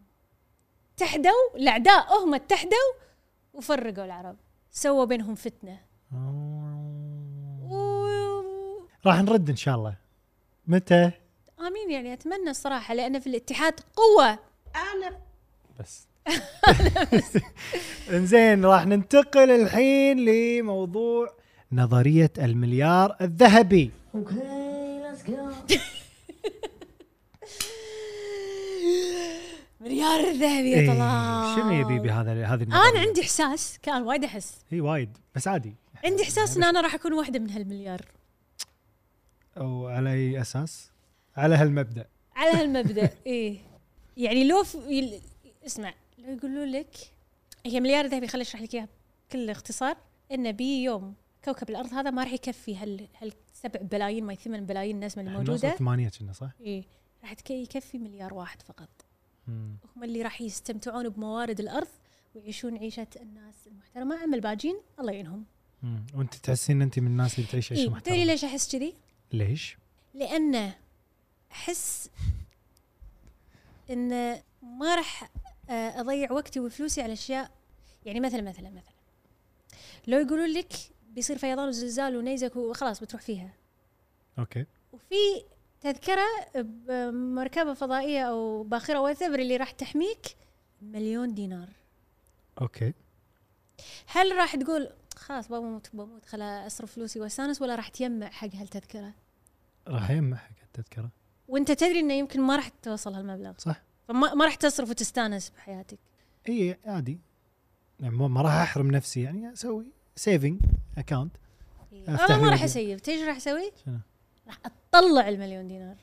S1: تحدوا الأعداء هم تحدوا وفرقوا العرب سووا بينهم فتنة
S2: آه.
S1: و-
S2: راح نرد ان شاء الله متى
S1: آمين يعني أتمنى الصراحة لأن في الاتحاد قوة
S2: بس انزين راح ننتقل الحين لموضوع نظرية المليار الذهبي
S1: مليار ذهبي
S2: إيه،
S1: يا طلال
S2: شنو يبي بهذا هذه
S1: أنا
S2: النظرية؟
S1: عندي إحساس كان وايد أحس
S2: هي وايد بس عادي
S1: عندي إحساس إن أنا راح أكون واحدة من هالمليار
S2: او على اي اساس؟ على هالمبدا
S1: على هالمبدا ايه يعني لو ف... يل... اسمع لو يقولوا لك هي مليار ذهبي خليني اشرح لك اياها بكل اختصار انه بي يوم كوكب الارض هذا ما راح يكفي هال هال 7 بلايين ما 8 بلايين الناس من الموجوده
S2: موجودة ثمانية كنا صح؟
S1: ايه راح تك- يكفي مليار واحد فقط
S2: مم.
S1: هم اللي راح يستمتعون بموارد الارض ويعيشون عيشه الناس المحترمه اما الباجين الله يعينهم
S2: مم. وانت تحسين ان انت من الناس اللي تعيش عيش
S1: ايه تدري
S2: محترم
S1: ليش احس كذي؟
S2: ليش؟
S1: لانه احس ان ما راح آه، اضيع وقتي وفلوسي على اشياء يعني مثلا مثلا مثلا لو يقولوا لك بيصير فيضان وزلزال ونيزك وخلاص بتروح فيها
S2: اوكي
S1: وفي تذكره بمركبه فضائيه او باخره وثبر اللي راح تحميك مليون دينار
S2: اوكي
S1: هل راح تقول خلاص بموت بموت خلا اصرف فلوسي واستانس ولا راح تجمع حق هالتذكره
S2: راح يجمع حق التذكرة
S1: وانت تدري انه يمكن ما راح توصل هالمبلغ
S2: صح؟
S1: فما ما راح تصرف وتستانس بحياتك
S2: اي عادي يعني ما- ما راح احرم نفسي يعني اسوي سيفنج اكاونت أفتح
S1: انا
S2: لي
S1: إيه. آه، ما راح
S2: مليون.
S1: اسيب تدري ايش راح اسوي؟
S2: شنو؟
S1: راح اطلع المليون دينار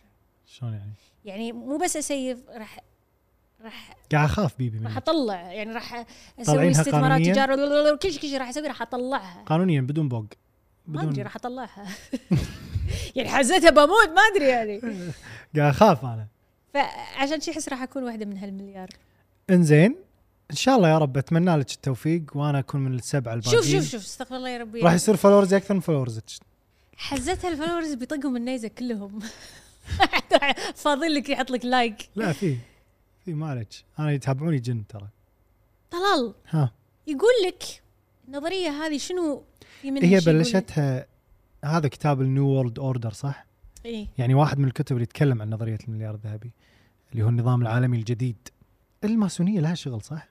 S2: شلون يعني؟
S1: يعني مو بس اسيب راح راح
S2: قاعد اخاف بيبي
S1: راح
S2: منك
S1: اطلع يعني راح اسوي
S2: طالعينها
S1: استثمارات
S2: قانونية؟
S1: تجاره كل شيء كل شيء راح اسوي راح اطلعها
S2: قانونيا بدون بوق
S1: ما ادري
S2: بدون
S1: راح اطلعها يعني حزتها بموت ما ادري يعني
S2: قاعد اخاف انا
S1: فعشان شي احس راح اكون واحده من هالمليار
S2: انزين ان شاء الله يا رب اتمنى لك التوفيق وانا اكون من السبعه الباقيين
S1: شوف شوف شوف استغفر الله يا ربي
S2: راح يصير فولورز اكثر من فولورزك
S1: حزتها الفولورز بيطقهم النيزه كلهم فاضل لك يحط لك لايك
S2: لا في في ما عليك انا يتابعوني جن ترى
S1: طلال
S2: ها
S1: يقول لك النظريه هذه شنو في منها شيء
S2: هي
S1: يقول-
S2: بلشتها هذا كتاب النيو وورلد اوردر صح؟
S1: ايه
S2: يعني واحد من الكتب اللي يتكلم عن نظريه المليار الذهبي اللي هو النظام العالمي الجديد الماسونيه لها شغل صح؟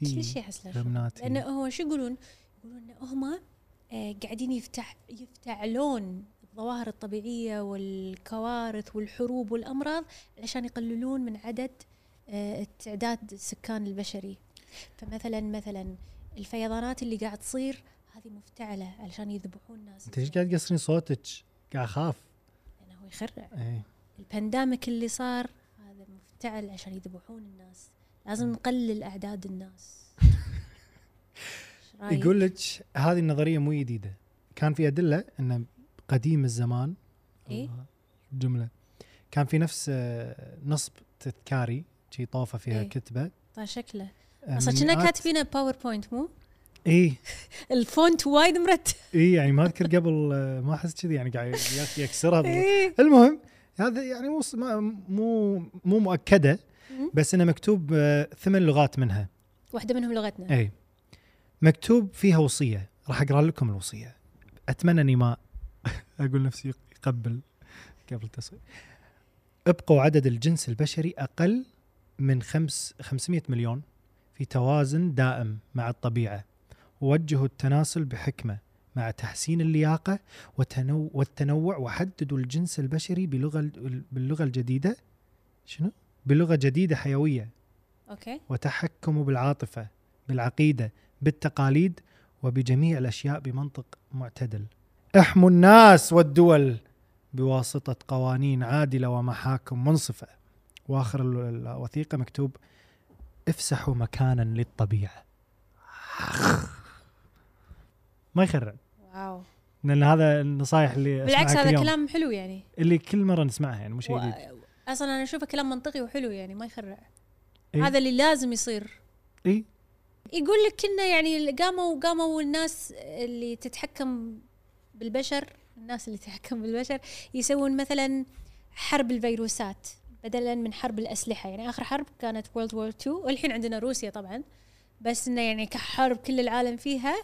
S1: كل
S2: في
S1: شيء احس له شغل.
S2: لمنات
S1: لانه هو شو يقولون؟ يقولون انه هم آه، قاعدين يفتح يفتعلون الظواهر الطبيعيه والكوارث والحروب والامراض علشان يقللون من عدد آه، تعداد السكان البشري. فمثلا مثلا الفيضانات اللي قاعد تصير هذه مفتعله علشان يذبحون ناس
S2: انت ايش قاعد تقصرين صوتك؟ قاعد اخاف
S1: لانه هو يخرع
S2: ايه
S1: البانديميك اللي صار هذا مفتعل عشان يذبحون الناس لازم نقلل اعداد الناس إيش رأيك؟
S2: يقول لك هذه النظريه مو جديده كان في ادله ان قديم الزمان
S1: إيه؟
S2: الله، جمله كان في نفس آه، نصب تذكاري شي طوفه فيها آه،
S1: إيه؟
S2: كتبه
S1: طال شكله اصلا كنا كاتبينه باوربوينت مو؟
S2: اي
S1: الفونت وايد مرتب
S2: اي يعني ما اذكر قبل آه، ما احس كذي يعني قاعد يك- يكسرها بال-
S1: إيه.
S2: المهم هذا يعني مو ص- ما- مو مو مؤكده بس انه مكتوب آه، ثمان لغات منها
S1: واحده منهم لغتنا
S2: اي مكتوب فيها وصيه راح اقرا لكم الوصيه اتمنى اني ما اقول نفسي قبل قبل التصوير ابقوا عدد الجنس البشري اقل من خمس 500 مليون في توازن دائم مع الطبيعه وجهوا التناسل بحكمه مع تحسين اللياقه وتنو والتنوع وحددوا الجنس البشري بلغه باللغه الجديده شنو؟ بلغه جديده حيويه
S1: اوكي
S2: وتحكم بالعاطفة بالعقيدة بالتقاليد وبجميع الأشياء بمنطق معتدل احموا الناس والدول بواسطة قوانين عادلة ومحاكم منصفة وآخر ال- الوثيقة مكتوب افسحوا مكانا للطبيعة ما يخرع
S1: واو
S2: لأن هذا النصايح اللي أسمعها
S1: بالعكس
S2: كل
S1: هذا
S2: يوم.
S1: كلام حلو يعني
S2: اللي كل مرة نسمعها يعني مو شيء
S1: و...
S2: جديد
S1: اصلا انا اشوفه كلام منطقي وحلو يعني ما يخرع
S2: إيه.
S1: هذا اللي لازم يصير
S2: إيه؟
S1: يقول لك كنا يعني قاموا قاموا الناس اللي تتحكم بالبشر الناس اللي تتحكم بالبشر يسوون مثلا حرب الفيروسات بدلا من حرب الاسلحه يعني اخر حرب كانت وورلد وور 2 والحين عندنا روسيا طبعا بس انه يعني كحرب كل العالم فيها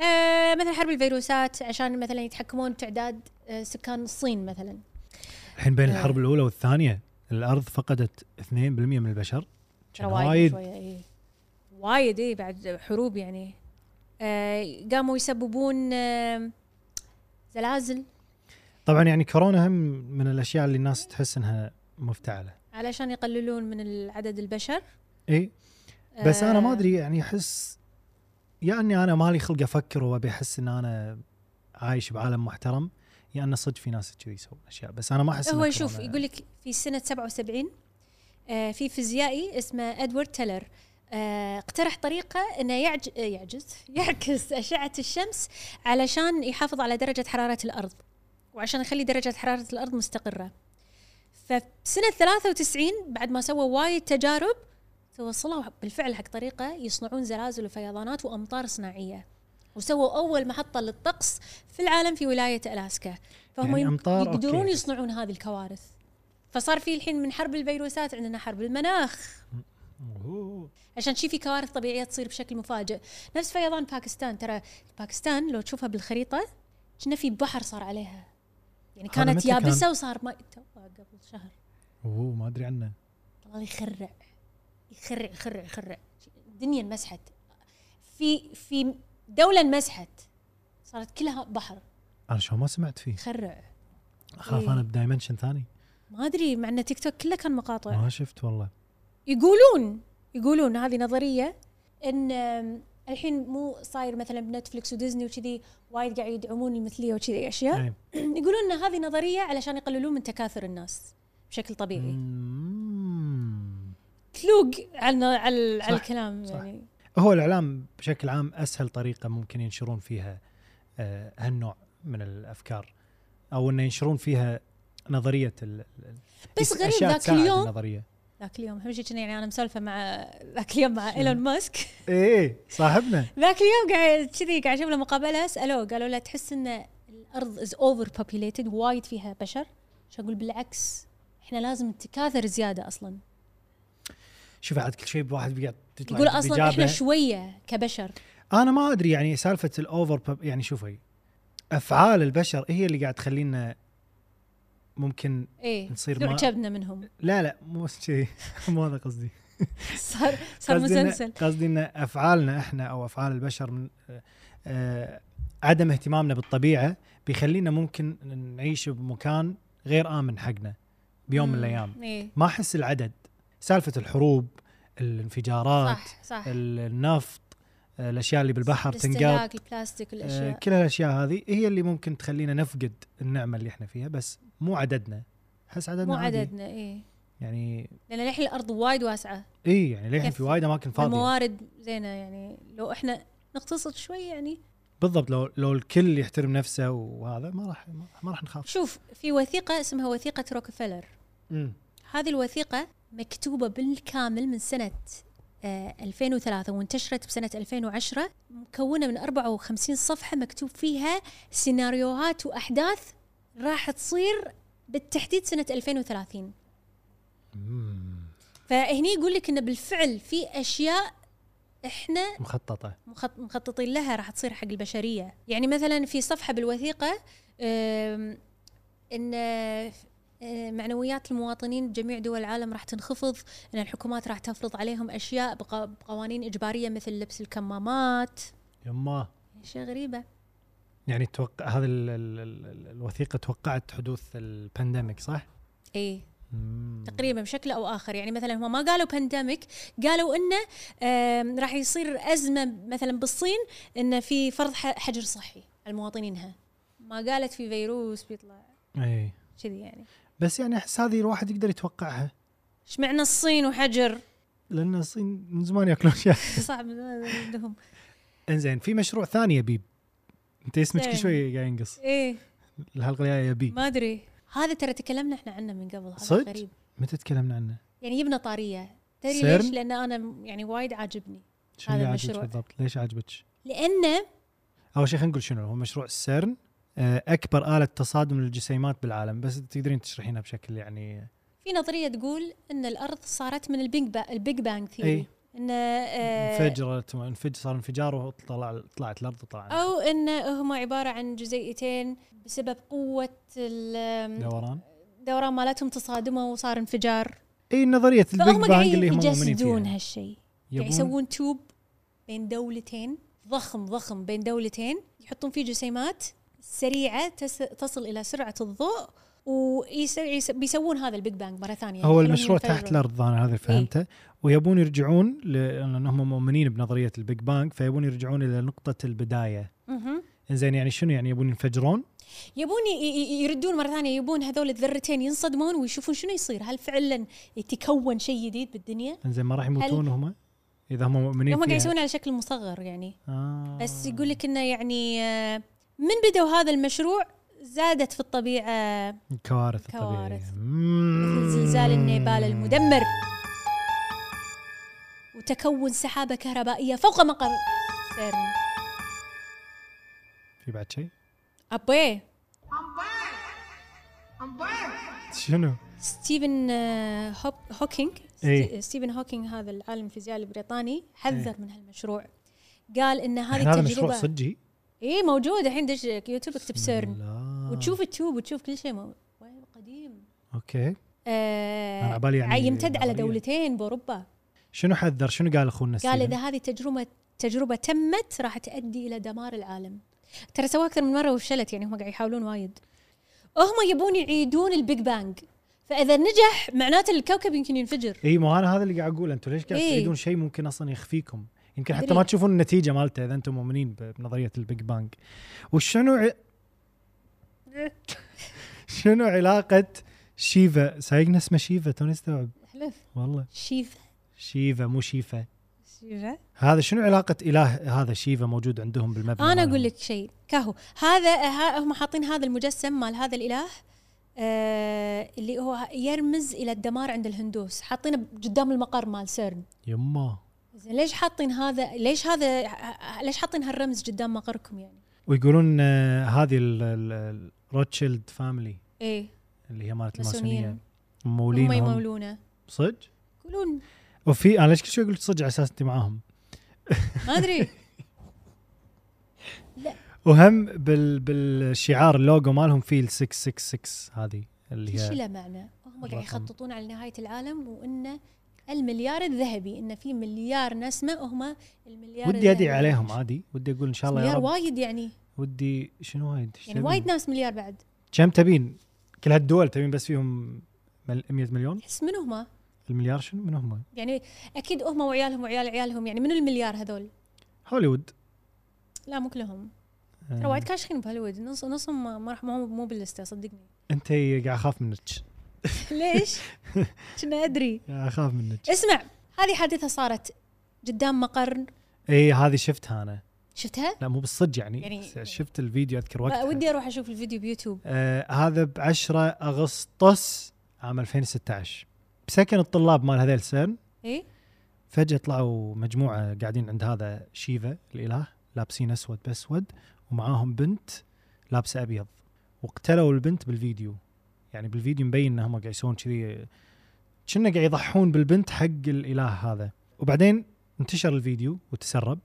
S1: آه مثلا حرب الفيروسات عشان مثلا يتحكمون بتعداد آه سكان الصين مثلا
S2: الحين بين
S1: آه.
S2: الحرب الأولى والثانية الأرض فقدت 2% من البشر
S1: ترى
S2: كان
S1: وايد شوية، إيه. وايد اي بعد حروب يعني آه قاموا يسببون آه زلازل
S2: طبعا يعني كورونا هم من الاشياء اللي الناس تحس انها مفتعله
S1: علشان يقللون من العدد البشر
S2: اي بس انا ما
S1: آه،
S2: ادري يعني احس يا اني انا مالي خلق افكر وابي احس ان انا عايش بعالم محترم يا ان صدق في ناس كذي يسوون اشياء بس انا ما احس إن يعني.
S1: هو يشوف
S2: كورونا-
S1: يقول لك في سنه 77 آه في فيزيائي اسمه ادوارد تيلر آه اقترح طريقه انه يعج... آه، يعجز يعكس اشعه الشمس علشان يحافظ على درجه حراره الارض وعشان يخلي درجه حراره الارض مستقره فسنه 93 بعد ما سووا وايد تجارب توصلوا بالفعل حق طريقه يصنعون زلازل وفيضانات وامطار صناعيه وسووا اول محطه للطقس في العالم في ولايه الاسكا فهم
S2: يعني
S1: يعني
S2: أمطار،
S1: يقدرون
S2: أوكي.
S1: يصنعون هذه الكوارث فصار في الحين من حرب الفيروسات عندنا حرب المناخ
S2: أوه.
S1: عشان شي في كوارث طبيعيه تصير بشكل مفاجئ نفس فيضان باكستان ترى باكستان لو تشوفها بالخريطه كنا في بحر صار عليها يعني
S2: هذا
S1: كانت
S2: متى كان؟
S1: يابسه وصار ماء تو- قبل شهر
S2: اوه ما ادري عنه
S1: والله يخرع يخرع يخرع يخرع الدنيا انمسحت في في دوله انمسحت صارت كلها بحر
S2: انا شو ما سمعت فيه
S1: يخرع
S2: اخاف
S1: إيه.
S2: انا بدايمنشن ثاني
S1: ما ادري مع ان تيك توك كله كان مقاطع
S2: ما شفت والله
S1: يقولون يقولون هذه نظريه ان أم، الحين مو صاير مثلا بنتفلكس وديزني وكذي وايد قاعد يدعمون المثليه وكذي اشياء
S2: إيه.
S1: يقولون ان هذه نظريه علشان يقللون من تكاثر الناس بشكل طبيعي
S2: مم.
S1: كلوق على على
S2: صح،
S1: على الكلام
S2: صح.
S1: يعني
S2: هو الاعلام بشكل عام اسهل طريقه ممكن ينشرون فيها آه، هالنوع من الافكار او انه ينشرون فيها نظريه ال ال-
S1: بس
S2: يس-
S1: غريب
S2: أشياء
S1: ذاك
S2: تساعد
S1: اليوم-
S2: النظريه
S1: ذاك اليوم اهم شيء كنا يعني انا مسولفه مع ذاك اليوم مع ايلون ماسك
S2: اي اي إيه، صاحبنا
S1: ذاك اليوم قاعد كذي قاعد اشوف له مقابله اساله قالوا له تحس ان الارض از اوفر بوبيليتد وايد فيها بشر؟ شو اقول بالعكس احنا لازم نتكاثر زياده اصلا
S2: شوف عاد كل شيء بواحد بيقعد يطلع
S1: يقول اصلا احنا
S2: بإجابة.
S1: شويه كبشر
S2: انا ما ادري يعني سالفه الاوفر بب- يعني شوفي افعال البشر هي اللي قاعد تخلينا ممكن
S1: ايه
S2: نصير
S1: نوع
S2: ما-
S1: جبنا منهم
S2: لا لا مو كذي مو هذا قصدي
S1: صار صار
S2: قصدي إن-
S1: مسلسل
S2: قصدي ان افعالنا احنا او افعال البشر من آه، آه، عدم اهتمامنا بالطبيعه بيخلينا ممكن نعيش بمكان غير امن حقنا بيوم من
S1: مم.
S2: الايام
S1: ايه
S2: ما احس العدد سالفه الحروب الانفجارات
S1: صح صح
S2: النفط آه، الاشياء اللي بالبحر تنقاط
S1: الاستهلاك البلاستيك
S2: آه،
S1: الاشياء
S2: كل هالاشياء هذه هي اللي ممكن تخلينا نفقد النعمه اللي احنا فيها بس مو عددنا احس عددنا
S1: مو
S2: عادي.
S1: عددنا ايه
S2: يعني
S1: لان الحين الارض وايد واسعه
S2: اي يعني للحين
S1: كيف؟
S2: في وايد اماكن فاضيه
S1: الموارد زينه يعني لو احنا نقتصد شوي يعني
S2: بالضبط لو لو الكل يحترم نفسه وهذا ما راح ما راح- ما راح نخاف
S1: شوف في وثيقه اسمها وثيقه روكفلر
S2: امم
S1: هذه الوثيقة مكتوبة بالكامل من سنة آه، 2003 وانتشرت بسنة 2010 مكونة من 54 صفحة مكتوب فيها سيناريوهات وأحداث راح تصير بالتحديد سنه 2030
S2: مم.
S1: فهني يقول لك انه بالفعل في اشياء احنا
S2: مخططه
S1: مخط- مخططين لها راح تصير حق البشريه يعني مثلا في صفحه بالوثيقه أم، ان أه، معنويات المواطنين بجميع دول العالم راح تنخفض ان الحكومات راح تفرض عليهم اشياء بق- بقوانين اجباريه مثل لبس الكمامات
S2: يما
S1: اشياء غريبه
S2: يعني توقع هذا ال... ال... ال... ال- الوثيقه توقعت حدوث البانديميك صح؟
S1: اي
S2: مم.
S1: تقريبا إيه، بشكل او اخر يعني مثلا هم ما قالوا بانديميك قالوا انه أم، راح يصير ازمه مثلا بالصين انه في فرض ح- حجر صحي على مواطنينها ما قالت في فيروس بيطلع
S2: اي
S1: كذي يعني
S2: بس يعني احس هذه الواحد يقدر يتوقعها
S1: ايش معنى الصين وحجر؟
S2: لان الصين من زمان ياكلون اشياء
S1: صعب عندهم
S2: انزين في مشروع ثاني يا بيب انت اسمك كل
S1: زين.
S2: شوي قاعد ينقص
S1: ايه
S2: الحلقه الجايه يا بيب
S1: إيه. ما ادري هذا ترى تكلمنا احنا عنه من قبل هذا
S2: صدق؟
S1: غريب
S2: متى تكلمنا عنه؟
S1: يعني جبنا طاريه تدري
S2: سيرن؟
S1: ليش؟ لان انا م- يعني وايد عاجبني
S2: شنو
S1: هذا
S2: اللي عاجبك
S1: المشروع.
S2: بالضبط؟ ليش عاجبك؟
S1: لانه
S2: اول شيء خلينا نقول شنو هو مشروع السيرن آه، اكبر اله تصادم للجسيمات بالعالم بس تقدرين تشرحينها بشكل يعني
S1: في نظريه تقول ان الارض صارت من البيج با البيج بانج
S2: إيه.
S1: ثيوري ان آه،
S2: انفجرت انفج صار انفجار وطلع طلعت الارض وطلع
S1: او ان هم عباره عن جزيئتين بسبب قوه ال-
S2: دوران
S1: الدوران مالتهم تصادموا وصار انفجار
S2: اي نظريه البيج
S1: فهم
S2: بانج
S1: قاعدين
S2: اللي هم مؤمنين
S1: يجسدون
S2: فيها
S1: هالشيء
S2: يبون-
S1: قاعد يعني يسوون تيوب بين دولتين ضخم ضخم بين دولتين يحطون فيه جسيمات سريعه تس تصل الى سرعه الضوء وبيسوون هذا البيج بانج مره ثانيه
S2: هو
S1: يخلونهم
S2: المشروع تحت
S1: ينفجرون.
S2: الارض انا هذا اللي فهمته ويبون يرجعون ل- لان هم مؤمنين بنظريه البيج بانج فيبون يرجعون الى نقطه البدايه
S1: مهم.
S2: زين يعني شنو يعني يبون ينفجرون
S1: يبون ي- ي- يردون مره ثانيه يبون هذول الذرتين ينصدمون ويشوفون شنو يصير هل فعلا يتكون شيء جديد بالدنيا
S2: زين ما راح يموتون هم اذا هم مؤمنين
S1: هم قاعد
S2: فيها.
S1: يسوون على شكل مصغر يعني
S2: يعني؟ آه.
S1: بس يقول لك انه يعني آه، من بدوا هذا المشروع زادت في الطبيعه كوارث.
S2: كوارث الطبيعيه
S1: مثل
S2: مثل
S1: زلزال النيبال المدمر وتكون سحابة كهربائية فوق مقر سيرن
S2: في بعد شيء
S1: أبوي
S2: شنو
S1: ستيفن آه، هوب هوكينج ست-
S2: إيه.
S1: ستيفن هوكينج هذا العالم الفيزياء البريطاني حذر من هالمشروع قال ان
S2: يعني
S1: هذه
S2: هذا مشروع
S1: التجربة
S2: صجي
S1: اي موجود الحين دش يوتيوب اكتب سيرن
S2: لا.
S1: وتشوف التوب وتشوف كل شيء مو... وين قديم
S2: اوكي أنا
S1: آه
S2: عبالي يعني
S1: يمتد على
S2: نظرية.
S1: دولتين باوروبا
S2: شنو حذر شنو قال اخونا
S1: قال
S2: ستيفن؟
S1: اذا هذه تجربه تجربه تمت راح تؤدي الى دمار العالم ترى سووها اكثر من مره وفشلت يعني هم قاعد يحاولون وايد هم يبون يعيدون البيج بانج فاذا نجح معناته الكوكب يمكن ينفجر
S2: اي مو انا هذا اللي قاعد اقول انتم ليش قاعد
S1: إيه.
S2: تريدون شيء ممكن اصلا يخفيكم يمكن حتى
S1: أدري.
S2: ما تشوفون النتيجه مالته اذا انتم مؤمنين ب- بنظريه البيج بانج وشنو ع... شنو علاقه شيفا سايقنا اسمه شيفا توني استوعب
S1: احلف
S2: والله
S1: شيفا
S2: شيفا مو شيفا
S1: شيفا
S2: هذا شنو علاقه اله هذا شيفا موجود عندهم بالمبنى
S1: انا
S2: مالهم؟
S1: اقول لك شيء كهو هذا ها هم حاطين هذا المجسم مال هذا الاله آه اللي هو يرمز الى الدمار عند الهندوس حاطينه قدام المقر مال سيرن
S2: يما
S1: زين ليش حاطين هذا ليش هذا ليش حاطين هالرمز قدام مقركم يعني
S2: ويقولون آه، هذه الروتشيلد فاميلي
S1: ايه
S2: اللي هي مالت
S1: ماسونية.
S2: الماسونيه
S1: هم
S2: مولين هم
S1: يمولونه
S2: صدق
S1: يقولون
S2: وفي انا ليش كل شوي قلت صدق على اساس انت معاهم
S1: ما ادري
S2: وهم بال بالشعار اللوجو مالهم فيه ال 666 هذه اللي
S1: ايش
S2: هي
S1: له معنى هم
S2: الرقم.
S1: قاعد يخططون على نهايه العالم وانه المليار الذهبي انه في مليار نسمه وهم المليار
S2: ودي ادعي
S1: الذهبي.
S2: عليهم عادي ودي اقول ان شاء الله يا
S1: مليار
S2: رب
S1: وايد يعني
S2: ودي شنو هاي إيش
S1: يعني
S2: تبين؟
S1: وايد ناس مليار بعد
S2: كم تبين كل هالدول تبين بس فيهم مل- 100 مليون
S1: احس من هم
S2: المليار شنو من هم
S1: يعني اكيد هم وعيالهم وعيال عيالهم يعني من المليار هذول
S2: هوليوود
S1: لا مو كلهم
S2: آه،
S1: ترى وايد كاشخين بهوليوود نص نصهم ما- ما راح ما هو- مو باللسته صدقني
S2: انت إيه قاعد اخاف منك
S1: ليش؟ كنا ادري
S2: قاعد اخاف منك
S1: اسمع هذه حادثه صارت قدام مقر
S2: اي إيه، هذه شفتها انا
S1: شفتها؟
S2: لا مو بالصدق يعني,
S1: يعني-
S2: بس شفت الفيديو اذكر وقتها
S1: ودي اروح اشوف الفيديو بيوتيوب
S2: آه هذا ب 10 اغسطس عام 2016 بسكن الطلاب مال هذيل سن
S1: ايه
S2: فجاه طلعوا مجموعه قاعدين عند هذا شيفا الاله لابسين اسود باسود ومعاهم بنت لابسه ابيض واقتلوا البنت بالفيديو يعني بالفيديو مبين انهم قاعد يسوون كذي كنا قاعد يضحون بالبنت حق الاله هذا وبعدين انتشر الفيديو وتسرب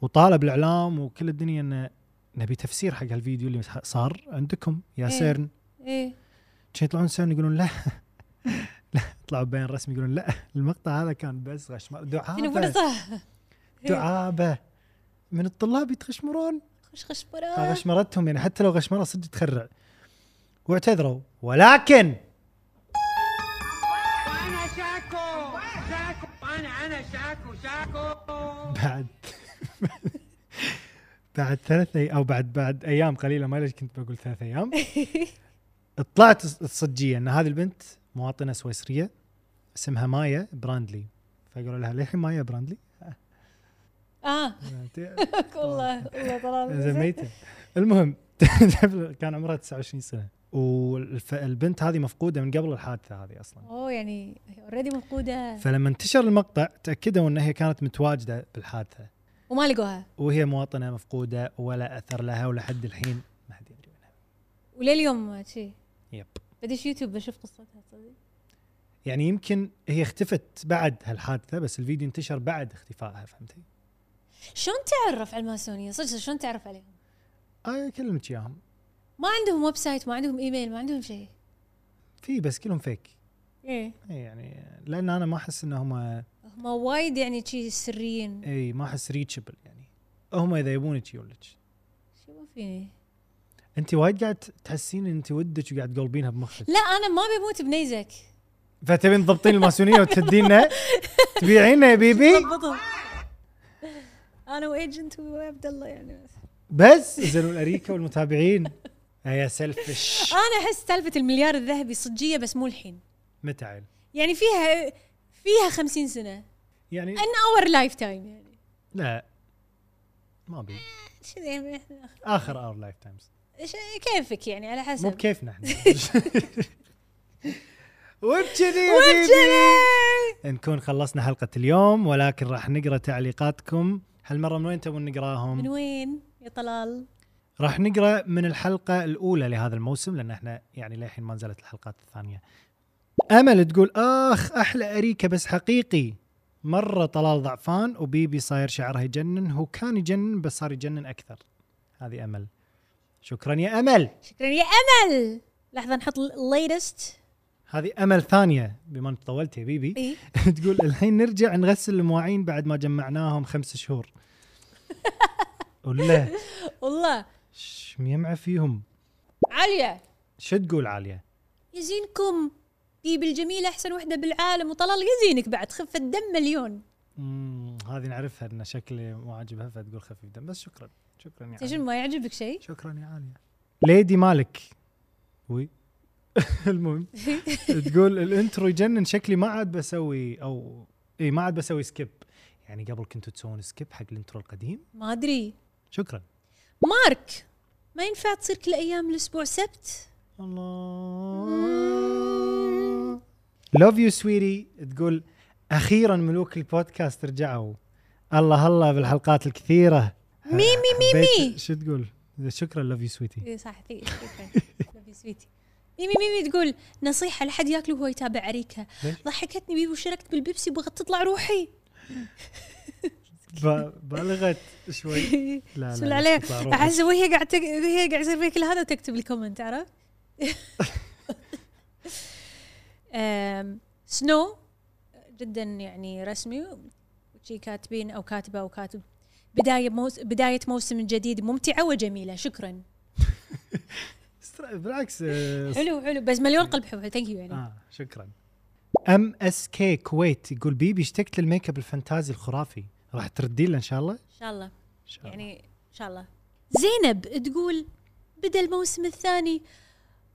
S2: وطالب الاعلام وكل الدنيا انه نبي تفسير حق هالفيديو اللي صار عندكم يا
S1: إيه.
S2: سيرن
S1: ايه
S2: كان يطلعون سيرن يقولون لا لا طلعوا بين رسمي يقولون لا المقطع هذا كان بس غش
S1: شنو مو
S2: دعابه
S1: صح
S2: دعابه من الطلاب يتغشمرون
S1: خش خش برا
S2: غشمرتهم يعني حتى لو غشمره صدق تخرع واعتذروا ولكن
S5: انا شاكو شاكو انا انا شاكو شاكو
S2: بعد بعد ثلاث أي او بعد بعد ايام قليله ما ليش كنت بقول ثلاث ايام طلعت الصجيه ان هذه البنت مواطنه سويسريه اسمها مايا براندلي فقالوا لها للحين مايا براندلي
S1: اه والله والله
S2: زين
S1: طلال
S2: ميته المهم كان عمرها 29 سنه والبنت هذه مفقوده من قبل الحادثه هذه اصلا
S1: اوه يعني اوريدي مفقوده
S2: فلما انتشر المقطع تاكدوا ان هي كانت متواجده بالحادثه
S1: وما لقوها
S2: وهي مواطنه مفقوده ولا اثر لها ولحد الحين ما حد يدري عنها
S1: ولليوم ما شي
S2: يب
S1: بدش يوتيوب بشوف قصتها صدق
S2: يعني يمكن هي اختفت بعد هالحادثه بس الفيديو انتشر بعد اختفائها فهمتي؟
S1: شلون تعرف على الماسونيه صدق شلون تعرف عليهم
S2: انا كلمت اياهم
S1: ما عندهم ويب سايت ما عندهم ايميل ما عندهم شيء
S2: في بس كلهم فيك
S1: ايه
S2: إي يعني لان انا ما احس ان هم
S1: هم وايد يعني شي سريين
S2: اي ما احس ريتشبل يعني هم اذا يبونك يقولك
S1: شو ما فيني
S2: انت وايد قاعد تحسين ان انت ودك وقاعد تقلبينها بمخك
S1: لا انا ما بموت بنيزك
S2: فتبين تضبطين الماسونيه وتدينا تبيعينا يا بيبي
S1: ضبطهم انا وايجنت وعبد الله يعني
S2: بس زين الاريكه والمتابعين يا سلفش
S1: انا احس سالفه المليار الذهبي صجيه بس مو الحين
S2: متى عيل
S1: يعني فيها فيها خمسين سنه
S2: يعني
S1: ان اور لايف تايم يعني
S2: لا ما ابي
S1: شو يعني إحنا-
S2: اخر اور لايف تايمز
S1: إيش- كيفك يعني على
S2: مو
S1: حسب
S2: بكيفنا احنا وبكذي يا
S1: وبجري!
S2: بيبي نكون خلصنا حلقه اليوم ولكن راح نقرا تعليقاتكم هالمره من وين تبون
S1: من
S2: نقراهم؟
S1: وين يا طلال
S2: راح نقرا من الحلقه الاولى لهذا الموسم لان احنا يعني للحين ما نزلت الحلقات الثانيه. امل تقول اخ احلى اريكه بس حقيقي مره طلال ضعفان وبيبي صاير شعرها يجنن هو كان يجنن بس صار يجنن اكثر. هذه امل. شكرا يا امل.
S1: شكرا يا امل لحظه نحط الليتست
S2: هذه امل ثانيه بما انك طولت يا بيبي
S1: اي
S2: تقول الحين نرجع نغسل المواعين بعد ما جمعناهم خمس شهور ولا
S1: والله
S2: ش- ميمعه فيهم
S1: عاليه
S2: شو تقول عاليه
S1: يزينكم بيبي الجميله احسن وحده بالعالم وطلال يزينك بعد خفه دم مليون
S2: مم، هذه نعرفها ان شكلي مو عاجبها فتقول خفيف دم بس شكرا شكرا يا
S1: أنت شنو
S2: عاليه
S1: ما يعجبك شيء
S2: شكرا يا عاليه ليدي مالك وي المهم تقول الانترو يجنن شكلي ما عاد بسوي او اي ما عاد بسوي سكيب يعني قبل كنتوا تسوون سكيب حق الانترو القديم
S1: ما ادري
S2: شكرا
S1: مارك ما ينفع تصير كل ايام الاسبوع سبت
S2: الله لوف يو سويري تقول اخيرا ملوك البودكاست رجعوا الله الله بالحلقات الكثيره
S1: مي مي مي
S2: حبيت-
S1: مي
S2: شو تقول شكرا لوف يو سويتي
S1: إيه صح في شكراً. لبي سويتي ميمي ميمي تقول نصيحة لحد ياكل وهو يتابع عريكها
S2: ليش؟
S1: ضحكتني بيه وشركت بالبيبسي بغت تطلع روحي
S2: بالغت شوي لا
S1: سول
S2: لا
S1: عليه
S2: تطلع روحك.
S1: احس وهي قاعد تك... وهي قاعد يصير فيها كل هذا تكتب الكومنت عرفت؟ أم، سنو جدا يعني رسمي وشي كاتبين او كاتبه او كاتب بدايه موس... بدايه موسم جديد ممتعه وجميله شكرا
S2: استر- بالعكس آه،
S1: حلو حلو بس مليون قلب حلو ثانك يو يعني
S2: آه شكرا ام اس كي كويت يقول بيبي اشتقت للميك اب الفانتازي الخرافي راح تردين له ان شاء الله؟
S1: ان شاء الله
S2: ان شاء الله
S1: يعني ان شاء الله زينب تقول بدا الموسم الثاني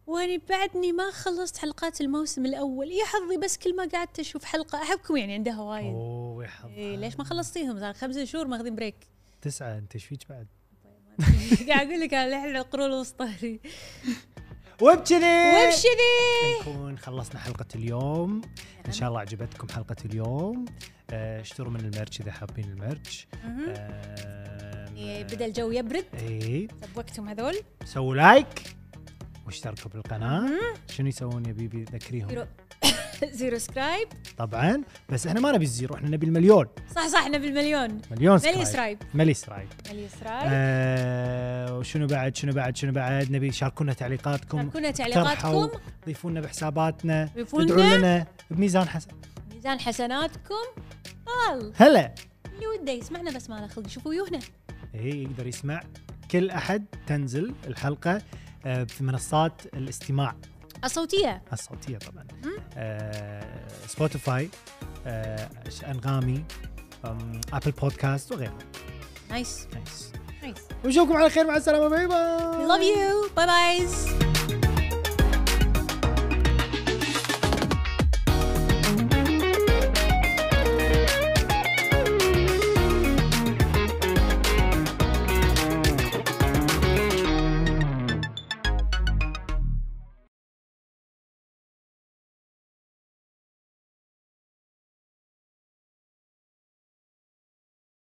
S1: واني بعدني ما خلصت حلقات الموسم الاول يا حظي بس كل ما قعدت اشوف حلقه احبكم يعني عندها وايد
S2: اوه يا
S1: إيه
S2: حظ
S1: ليش ما خلصتيهم صار خمسة شهور ماخذين بريك
S2: تسعه انت ايش فيك بعد؟
S1: قاعد اقول لك أنا لحن القرون الوسطى
S2: وبكذي
S1: وبشذي
S2: نكون خلصنا حلقة اليوم إن شاء الله عجبتكم حلقة اليوم آه، اشتروا من الميرش إذا حابين الميرش آه،
S1: بدا الجو يبرد
S2: إيه
S1: بوقتهم هذول
S2: سووا لايك واشتركوا بالقناه شنو يسوون يا بيبي ذكريهم
S1: زيرو زيرو سكرايب
S2: طبعا بس احنا ما نبي الزيرو احنا نبي المليون
S1: صح صح احنا بالمليون
S2: مليون
S1: ملي
S2: سكرايب
S1: سرايب.
S2: ملي سرايب
S1: علي سرايب
S2: آه وشنو بعد شنو بعد شنو بعد نبي شاركونا تعليقاتكم
S1: شاركونا
S2: اقترحوا،
S1: تعليقاتكم
S2: ضيفوا لنا بحساباتنا
S1: ضيفوا
S2: ادعوا
S1: لنا.
S2: لنا بميزان حسن
S1: ميزان حسناتكم والله
S2: هلا
S1: اللي وده يسمعنا بس ما له خلق شوفوا يوهنا
S2: اي يقدر يسمع كل احد تنزل الحلقه آه، في منصات الاستماع
S1: الصوتيه
S2: الصوتيه طبعا آه، سبوتيفاي آه، انغامي أم، ابل بودكاست وغيرها
S1: نايس
S2: نايس
S1: نايس
S2: ونشوفكم على خير مع السلامه باي باي
S1: We love you. Bye bye.